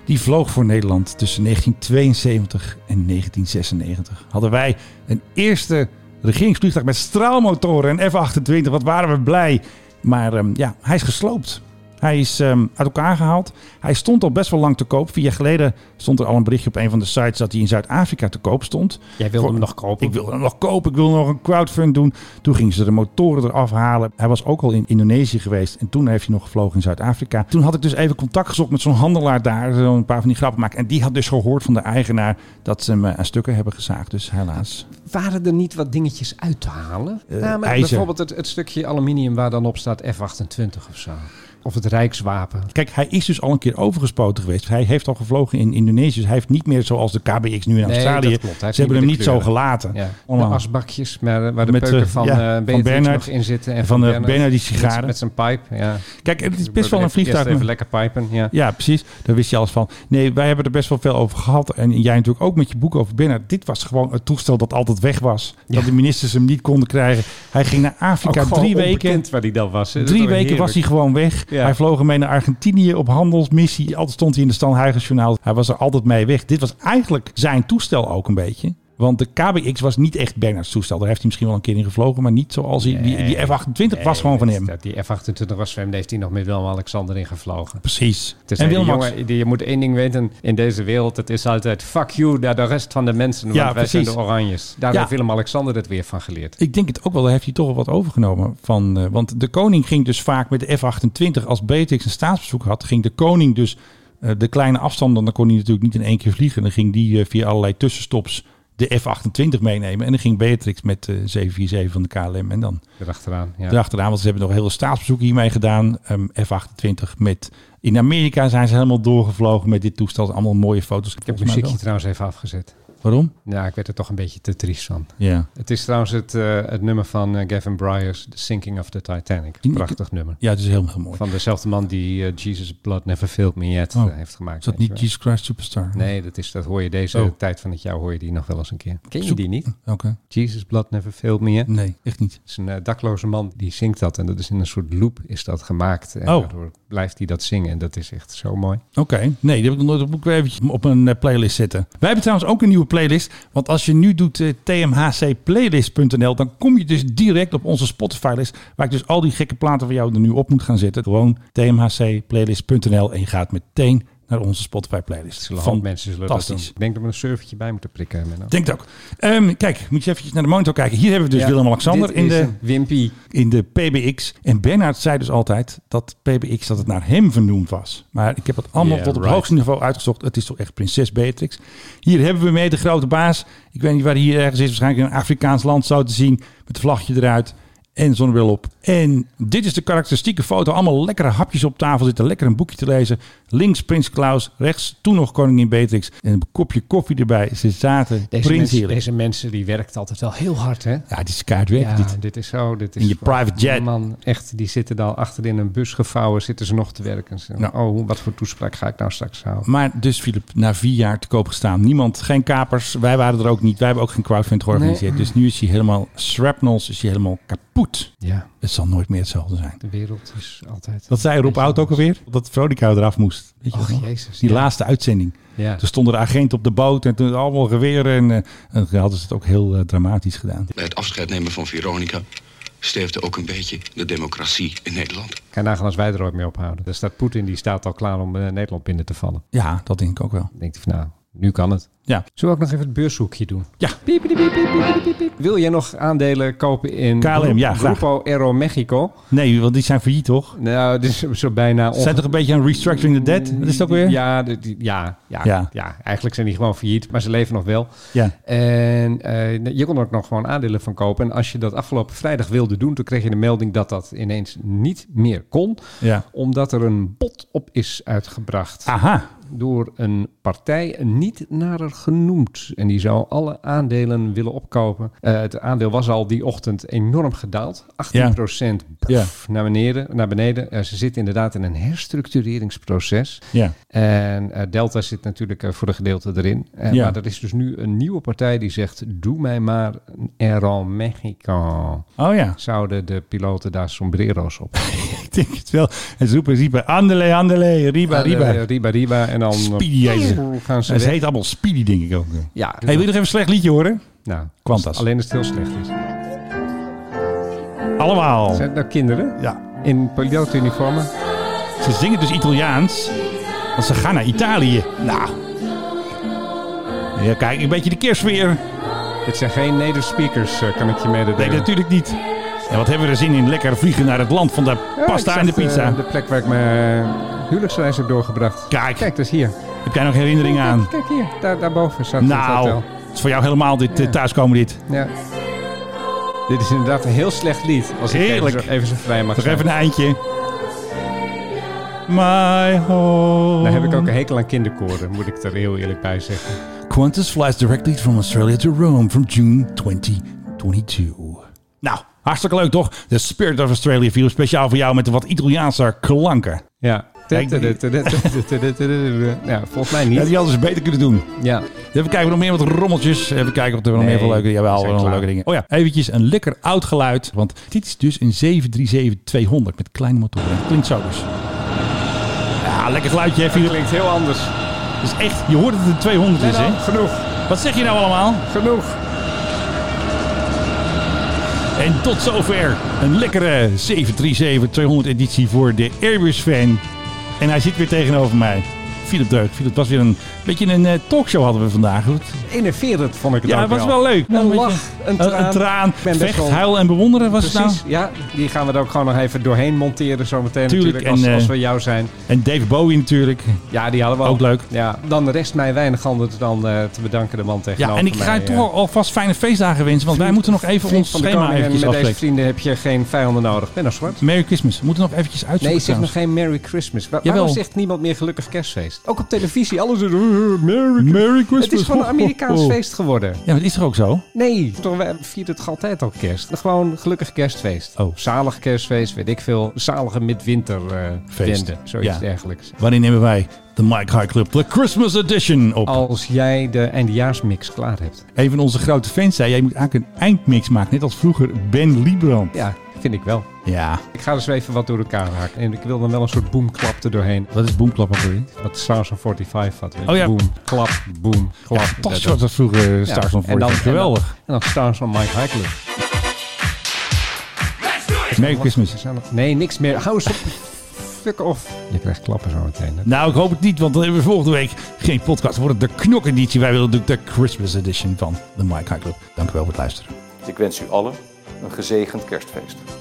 Speaker 8: die vloog voor Nederland tussen 1972 en 1996. Hadden wij een eerste regeringsvliegtuig met straalmotoren en F-28, wat waren we blij. Maar ehm, ja, hij is gesloopt. Hij is ehm, uit elkaar gehaald. Hij stond al best wel lang te koop. Vier jaar geleden stond er al een berichtje op een van de sites dat hij in Zuid-Afrika te koop stond.
Speaker 9: Jij wilde
Speaker 8: Voor-
Speaker 9: hem nog kopen?
Speaker 8: Ik wilde hem nog kopen. Ik wilde nog een crowdfund doen. Toen gingen ze de motoren eraf halen. Hij was ook al in Indonesië geweest. En toen heeft hij nog gevlogen in Zuid-Afrika. Toen had ik dus even contact gezocht met zo'n handelaar daar. Zo'n paar van die grappen maken. En die had dus gehoord van de eigenaar dat ze hem eh, aan stukken hebben gezaagd. Dus helaas.
Speaker 9: Waren er niet wat dingetjes uit te halen?
Speaker 8: Eh,
Speaker 9: nou, maar
Speaker 8: ijzer.
Speaker 9: Bijvoorbeeld het, het stukje aluminium waar dan op staat F-28 of zo. Of het Rijkswapen.
Speaker 8: Kijk, hij is dus al een keer overgespoten geweest. Hij heeft al gevlogen in Indonesië. Dus hij heeft niet meer zoals de KBX nu in
Speaker 9: Nee,
Speaker 8: Australië.
Speaker 9: dat klopt. Hij heeft
Speaker 8: Ze hebben
Speaker 9: niet
Speaker 8: hem
Speaker 9: meer
Speaker 8: niet
Speaker 9: de
Speaker 8: zo
Speaker 9: kleuren.
Speaker 8: gelaten.
Speaker 9: Ja, de
Speaker 8: Allemaal.
Speaker 9: asbakjes maar, waar de
Speaker 8: Met,
Speaker 9: peuken
Speaker 8: eh,
Speaker 9: van,
Speaker 8: ja,
Speaker 9: eh
Speaker 8: van
Speaker 9: Beatrix
Speaker 8: Bernard.
Speaker 9: nog in zitten. En
Speaker 8: Van, eh, Bernard die
Speaker 9: Met-
Speaker 8: sigaren.
Speaker 9: Met, zijn pipe, ja.
Speaker 8: Kijk, het is best wel een
Speaker 9: Eerst
Speaker 8: vliegtuig.
Speaker 9: even lekker pijpen, ja.
Speaker 8: Ja, precies. Daar wist je alles van. Nee, wij hebben er best wel veel over gehad. En jij natuurlijk ook met je boek over binnen. Dit was gewoon het toestel dat altijd weg was. Dat de ministers hem niet konden krijgen. Hij ging naar Afrika
Speaker 9: Ook gewoon
Speaker 8: drie weken.
Speaker 9: onbekend waar die dan was. hè. Dat is
Speaker 8: Drie
Speaker 9: toch
Speaker 8: weken was hij
Speaker 9: heerlijk.
Speaker 8: gewoon weg.
Speaker 9: Ja.
Speaker 8: Hij vloog mee naar Argentinië op handelsmissie. Altijd stond hij in de Stan Huygens journaal. Hij was er altijd mee weg. Dit was eigenlijk zijn toestel ook een beetje. Want de KBX was niet echt Bernards toestel. Daar heeft hij misschien wel een keer in gevlogen. Maar niet zoals hij... Die, die F-28 was gewoon van
Speaker 9: Nee,
Speaker 8: hem.
Speaker 9: dat- Die F-28 was van hem, daar heeft hij nog met Willem-Alexander in gevlogen.
Speaker 8: Precies.
Speaker 9: Dus
Speaker 8: en
Speaker 9: en die
Speaker 8: Wilmax.
Speaker 9: jongen, die, je moet één ding weten in deze wereld. Het is altijd fuck you naar de rest van de mensen. Want
Speaker 8: Ja,
Speaker 9: wij zijn de
Speaker 8: precies.
Speaker 9: oranjes. Daar
Speaker 8: Ja.
Speaker 9: heeft Willem-Alexander het weer van geleerd.
Speaker 8: Ik denk het ook wel, daar heeft hij toch wel wat overgenomen. Van, eh, want de koning ging dus vaak met de F-28, als Beatrix een staatsbezoek had, ging de koning dus eh, de kleine afstanden, dan kon hij natuurlijk niet in één keer vliegen. Dan ging die eh, via allerlei tussenstops de F-28 meenemen. En dan ging Beatrix met eh, de 747 van de KLM en dan
Speaker 9: Erachteraan, ja.
Speaker 8: erachteraan. Want ze hebben nog heel veel staatsbezoeken hiermee gedaan. Ehm, F-28 met... In Amerika zijn ze helemaal doorgevlogen met dit toestel. Allemaal mooie foto's.
Speaker 9: Ik heb het muziekje trouwens even afgezet.
Speaker 8: Waarom?
Speaker 9: Ja, ik werd er toch een beetje te triest van.
Speaker 8: Ja.
Speaker 9: Het is trouwens het, eh, het nummer van eh, Gavin Bryars, The Sinking of the Titanic. Prachtig nummer.
Speaker 8: Ja, het is heel, heel mooi.
Speaker 9: Van dezelfde man die eh, Jesus Blood Never Failed Me Yet
Speaker 8: Oh.
Speaker 9: eh, heeft gemaakt.
Speaker 8: Is dat
Speaker 9: weet
Speaker 8: niet
Speaker 9: je wel.
Speaker 8: Jesus Christ Superstar?
Speaker 9: Nee, dat, is, dat hoor je deze
Speaker 8: Oh.
Speaker 9: tijd van het jaar hoor je die nog wel eens een keer. Ken je
Speaker 8: Zoek-
Speaker 9: die niet?
Speaker 8: Oké.
Speaker 9: Jesus Blood Never Failed Me Yet?
Speaker 8: Nee, echt niet.
Speaker 9: Het is een eh, dakloze man die zingt dat. En dat is in een soort loop is dat gemaakt. En
Speaker 8: Oh.
Speaker 9: daardoor blijft hij dat zingen. En dat is echt zo mooi.
Speaker 8: Oké, nee, die heb ik nog nooit op, moet ik eventjes op een eh, playlist zetten. Wij hebben trouwens ook een nieuwe playlist. Want als je nu doet eh, tmhcplaylist.nl, dan kom je dus direct op onze Spotify-list. Waar ik dus al die gekke platen van jou er nu op moet gaan zetten. Gewoon tmhcplaylist.nl en je gaat meteen naar onze Spotify-playlist.
Speaker 9: Zullen van mensen zullen dat doen.
Speaker 8: Fantastisch.
Speaker 9: Ik denk dat we een surfertje bij moeten prikken. Menno.
Speaker 8: Denk het ook. Ehm, kijk, moet je eventjes naar de monitor kijken. Hier hebben we dus
Speaker 9: Ja,
Speaker 8: Willem-Alexander
Speaker 9: dit
Speaker 8: in
Speaker 9: is
Speaker 8: de,
Speaker 9: een Wimpy.
Speaker 8: in de PBX. En Bernhard zei dus altijd dat PBX dat het naar hem vernoemd was. Maar ik heb het allemaal
Speaker 9: Yeah,
Speaker 8: tot op het
Speaker 9: right.
Speaker 8: hoogste niveau uitgezocht. Het is toch echt prinses Beatrix. Hier hebben we mee de grote baas. Ik weet niet waar hij hier ergens is. Waarschijnlijk in een Afrikaans land zo te zien. Met een vlagje eruit. En zonnebril op. En dit is de karakteristieke foto. Allemaal lekkere hapjes op tafel zitten. Lekker een boekje te lezen. Links Prins Klaus. Rechts toen nog koningin Beatrix. En een kopje koffie erbij. Ze zaten
Speaker 9: Deze, mensen,
Speaker 8: prinsheerlijk.
Speaker 9: deze mensen die werkt altijd wel heel hard, hè?
Speaker 8: Ja, dit is kaartwerk.
Speaker 9: Ja,
Speaker 8: dit.
Speaker 9: dit. is zo. Dit is
Speaker 8: In je
Speaker 9: gewoon-
Speaker 8: private jet.
Speaker 9: Man, echt, die zitten dan achter in een bus gevouwen, zitten ze nog te werken. Ze,
Speaker 8: Ja.
Speaker 9: Oh, wat voor toespraak ga ik nou straks houden?
Speaker 8: Maar dus, Filip, na vier jaar te koop gestaan. Niemand, geen kapers. Wij waren er ook niet. Wij hebben ook geen crowdfund georganiseerd. Dus nu is hij helemaal shrapnels, is hij helemaal kapot.
Speaker 9: Ja,
Speaker 8: Het zal nooit meer hetzelfde zijn.
Speaker 9: de wereld is altijd...
Speaker 8: Dat zei Rob Oud ook alweer. Dat Veronica eraf moest. Weet je
Speaker 9: Och,
Speaker 8: dat nog?
Speaker 9: Oh, jezus,
Speaker 8: Die
Speaker 9: ja.
Speaker 8: laatste Dus- uitzending.
Speaker 9: Ja.
Speaker 8: Toen stonden de agenten op de boot en toen allemaal geweren. En, eh, en toen hadden ze het ook heel eh, dramatisch gedaan.
Speaker 12: Bij het afscheid nemen van Veronica sterfde ook een beetje de democratie in Nederland.
Speaker 9: Kan nagaan als wij er ooit mee ophouden. Daar staat Poetin, die staat al klaar om eh, Nederland binnen te vallen.
Speaker 8: Ja, dat denk ik ook wel.
Speaker 9: Dan denkt hij van, nou, nu kan het.
Speaker 8: Ja.
Speaker 9: Zullen we ook nog even het beurshoekje doen?
Speaker 8: Ja.
Speaker 9: Piep, piep, piep, piep, piep, piep, piep. Wil jij nog aandelen kopen in
Speaker 8: KLM? Ja, graag.
Speaker 9: Grupo Aero Mexico?
Speaker 8: Nee, want die zijn failliet, toch?
Speaker 9: Nou, dit is zo bijna...
Speaker 8: Ze zijn toch een beetje aan restructuring the debt? Dat is het ook weer?
Speaker 9: Ja, de- die- ja, ja,
Speaker 8: Ja.
Speaker 9: ja. eigenlijk zijn die gewoon failliet, maar ze leven nog wel.
Speaker 8: Ja.
Speaker 9: En eh, je kon er ook nog gewoon aandelen van kopen. En als je dat afgelopen vrijdag wilde doen, toen kreeg je de melding dat dat ineens niet meer kon.
Speaker 8: Ja.
Speaker 9: Omdat er een bot op is uitgebracht
Speaker 8: Aha.
Speaker 9: door een partij niet nader genoemd. En die zou alle aandelen willen opkopen. Eh, het aandeel was al die ochtend enorm gedaald. 18% pff, naar beneden. Naar beneden. Eh, ze zitten inderdaad in een herstructureringsproces.
Speaker 8: Ja.
Speaker 9: En eh, Delta zit natuurlijk eh, voor een gedeelte erin. Eh,
Speaker 8: Ja.
Speaker 9: Maar er is dus nu een nieuwe partij die zegt... doe mij maar een Aero Mexico.
Speaker 8: Oh ja.
Speaker 9: Zouden de piloten daar sombrero's op?
Speaker 8: Ik denk het wel. En ze roepen Riba, andele, andele, riba, riba.
Speaker 9: Eh, Riba, riba. En dan eh,
Speaker 8: Speedy heet
Speaker 9: gaan ze
Speaker 8: Het
Speaker 9: weg.
Speaker 8: heet allemaal Speedy, denk ik ook.
Speaker 9: Ja.
Speaker 8: Hey, wil je nog even een slecht liedje horen?
Speaker 9: Nou,
Speaker 8: Quantas.
Speaker 9: als- Alleen als het heel slecht is.
Speaker 8: Allemaal.
Speaker 9: Zijn het nou kinderen?
Speaker 8: Ja.
Speaker 9: In pilootuniformen?
Speaker 8: Ze zingen dus Italiaans, want ze gaan naar Italië. Nou. Ja, kijk, een beetje de kerstsfeer.
Speaker 9: Dit zijn geen native speakers, eh, kan ik je
Speaker 8: Nee,
Speaker 9: mededelen.
Speaker 8: natuurlijk niet. En wat hebben we er zin in? Lekker vliegen naar het land van de
Speaker 9: Ja,
Speaker 8: pasta
Speaker 9: ik
Speaker 8: en de
Speaker 9: zag,
Speaker 8: pizza.
Speaker 9: eh, de plek waar ik mijn eh, huwelijksreis heb doorgebracht.
Speaker 8: Kijk.
Speaker 9: Kijk, dat is hier.
Speaker 8: Heb jij nog herinnering aan?
Speaker 9: Kijk hier, daar, daarboven zat het
Speaker 8: Nou,
Speaker 9: hotel.
Speaker 8: het is voor jou helemaal dit eh, thuiskomen dit.
Speaker 9: Ja. Dit is inderdaad een heel slecht lied. Als
Speaker 8: Heerlijk.
Speaker 9: ik even zo, even zo vrij mag
Speaker 8: Nog
Speaker 9: zijn.
Speaker 8: even een eindje. My home.
Speaker 9: Daar heb ik ook een hekel aan kinderkoren, moet ik er heel eerlijk bij zeggen.
Speaker 8: Qantas flies directly from Australia to Rome from June 2022. Nou, hartstikke leuk toch? De Spirit of Australia viel speciaal voor jou met de wat Italiaanse klanken.
Speaker 9: Ja.
Speaker 8: Kijk, die-
Speaker 9: Ja, volgens mij
Speaker 8: Ja,
Speaker 9: niet.
Speaker 8: die hadden ze beter kunnen doen.
Speaker 9: Ja.
Speaker 8: Even kijken, we nog meer wat rommeltjes. Even kijken of er nog
Speaker 9: Nee,
Speaker 8: meer van leuke dingen. Jawel, wel
Speaker 9: zijn
Speaker 8: nog
Speaker 9: klaar.
Speaker 8: leuke dingen. Oh ja, eventjes een lekker oud geluid. Want dit is dus een 737-200 met kleine motoren. Het klinkt zo dus. Ja, lekker geluidje, hè, Philip?
Speaker 9: Klinkt heel anders.
Speaker 8: Dat is echt, je hoort dat het een 200 is, hè?
Speaker 9: genoeg,
Speaker 8: Wat zeg je nou allemaal?
Speaker 9: genoeg.
Speaker 8: En tot zover een lekkere 737-200 editie voor de Airbus-fan. En hij zit weer tegenover mij. Philip Deuk. Philip, het was weer een beetje een eh, talkshow hadden we vandaag. Goed.
Speaker 9: Innoverend vond ik het
Speaker 8: Ja,
Speaker 9: ook
Speaker 8: het was
Speaker 9: wel.
Speaker 8: wel leuk.
Speaker 9: Een
Speaker 8: beetje-
Speaker 9: lach, een
Speaker 8: Een,
Speaker 9: traan.
Speaker 8: traan.
Speaker 9: ben best
Speaker 8: Vecht,
Speaker 9: wel-
Speaker 8: huilen en bewonderen was het nou.
Speaker 9: Precies, ja. Die gaan we er ook gewoon nog even doorheen monteren zometeen
Speaker 8: Tuurlijk,
Speaker 9: natuurlijk, als,
Speaker 8: en, eh,
Speaker 9: als we jou zijn.
Speaker 8: En Dave Bowie natuurlijk.
Speaker 9: Ja, die hadden we
Speaker 8: ook
Speaker 9: al.
Speaker 8: leuk.
Speaker 9: Ja, dan rest mij weinig anders dan eh, te bedanken de man
Speaker 8: Ja,
Speaker 9: tegenover
Speaker 8: en ik ga
Speaker 9: mij,
Speaker 8: je
Speaker 9: eh.
Speaker 8: toch al- alvast fijne feestdagen wensen. Want wij
Speaker 9: Vriend-
Speaker 8: moeten nog even
Speaker 9: Vriend
Speaker 8: ons
Speaker 9: van de
Speaker 8: schema
Speaker 9: koning en
Speaker 8: eventjes
Speaker 9: Met deze
Speaker 8: afspreken.
Speaker 9: vrienden heb je geen vijanden nodig. Ben nou zwart.
Speaker 8: Merry Christmas. We moeten nog eventjes uitzoeken
Speaker 9: Nee, zeg nog
Speaker 8: trouwens.
Speaker 9: geen Merry Christmas. Wa-
Speaker 8: Jawel.
Speaker 9: waarom zegt niemand meer gelukkig kerstfeest? Ook op televisie, alles is... Merry,
Speaker 8: Christmas.
Speaker 9: Het is gewoon een Amerikaans
Speaker 8: Oh, oh.
Speaker 9: feest geworden.
Speaker 8: Ja, maar het is toch ook zo?
Speaker 9: Nee, toch, we vieren het altijd al kerst. Gewoon gelukkig kerstfeest.
Speaker 8: Oh.
Speaker 9: Zalig kerstfeest, weet ik veel. Zalige midwinter eh,
Speaker 8: Feest.
Speaker 9: wende, zoiets
Speaker 8: Ja.
Speaker 9: dergelijks.
Speaker 8: Wanneer nemen wij de Mike High Club The Christmas Edition op?
Speaker 9: Als jij de eindejaarsmix klaar hebt.
Speaker 8: Een van onze grote fans zei, jij moet eigenlijk een eindmix maken. Net als vroeger Ben Liebrand.
Speaker 9: Ja, vind ik wel.
Speaker 8: Ja,
Speaker 9: Ik ga dus even wat door elkaar haken. En ik wil dan wel een soort boomklap er doorheen.
Speaker 8: dat is boomklap ook weer.
Speaker 9: Wat Stars on 45 had. weet je.
Speaker 8: Oh ja.
Speaker 9: Boom, klap, boom, klap.
Speaker 8: Fantastisch was dat vroeger eh, Stars on
Speaker 9: en dan-
Speaker 8: 45. Geweldig.
Speaker 9: En dan Stars on Mike High Club.
Speaker 8: Merry Christmas.
Speaker 9: Nee, niks meer. Hou eens op. Fuck off. Je krijgt klappen zo meteen. hè.
Speaker 8: Nou, ik hoop het niet, want dan hebben we volgende week geen podcast. Dan wordt het de knokeditie. Wij willen natuurlijk de Christmas edition van de Mike High Club. Dank u wel voor het luisteren.
Speaker 13: Ik wens u allen een gezegend kerstfeest.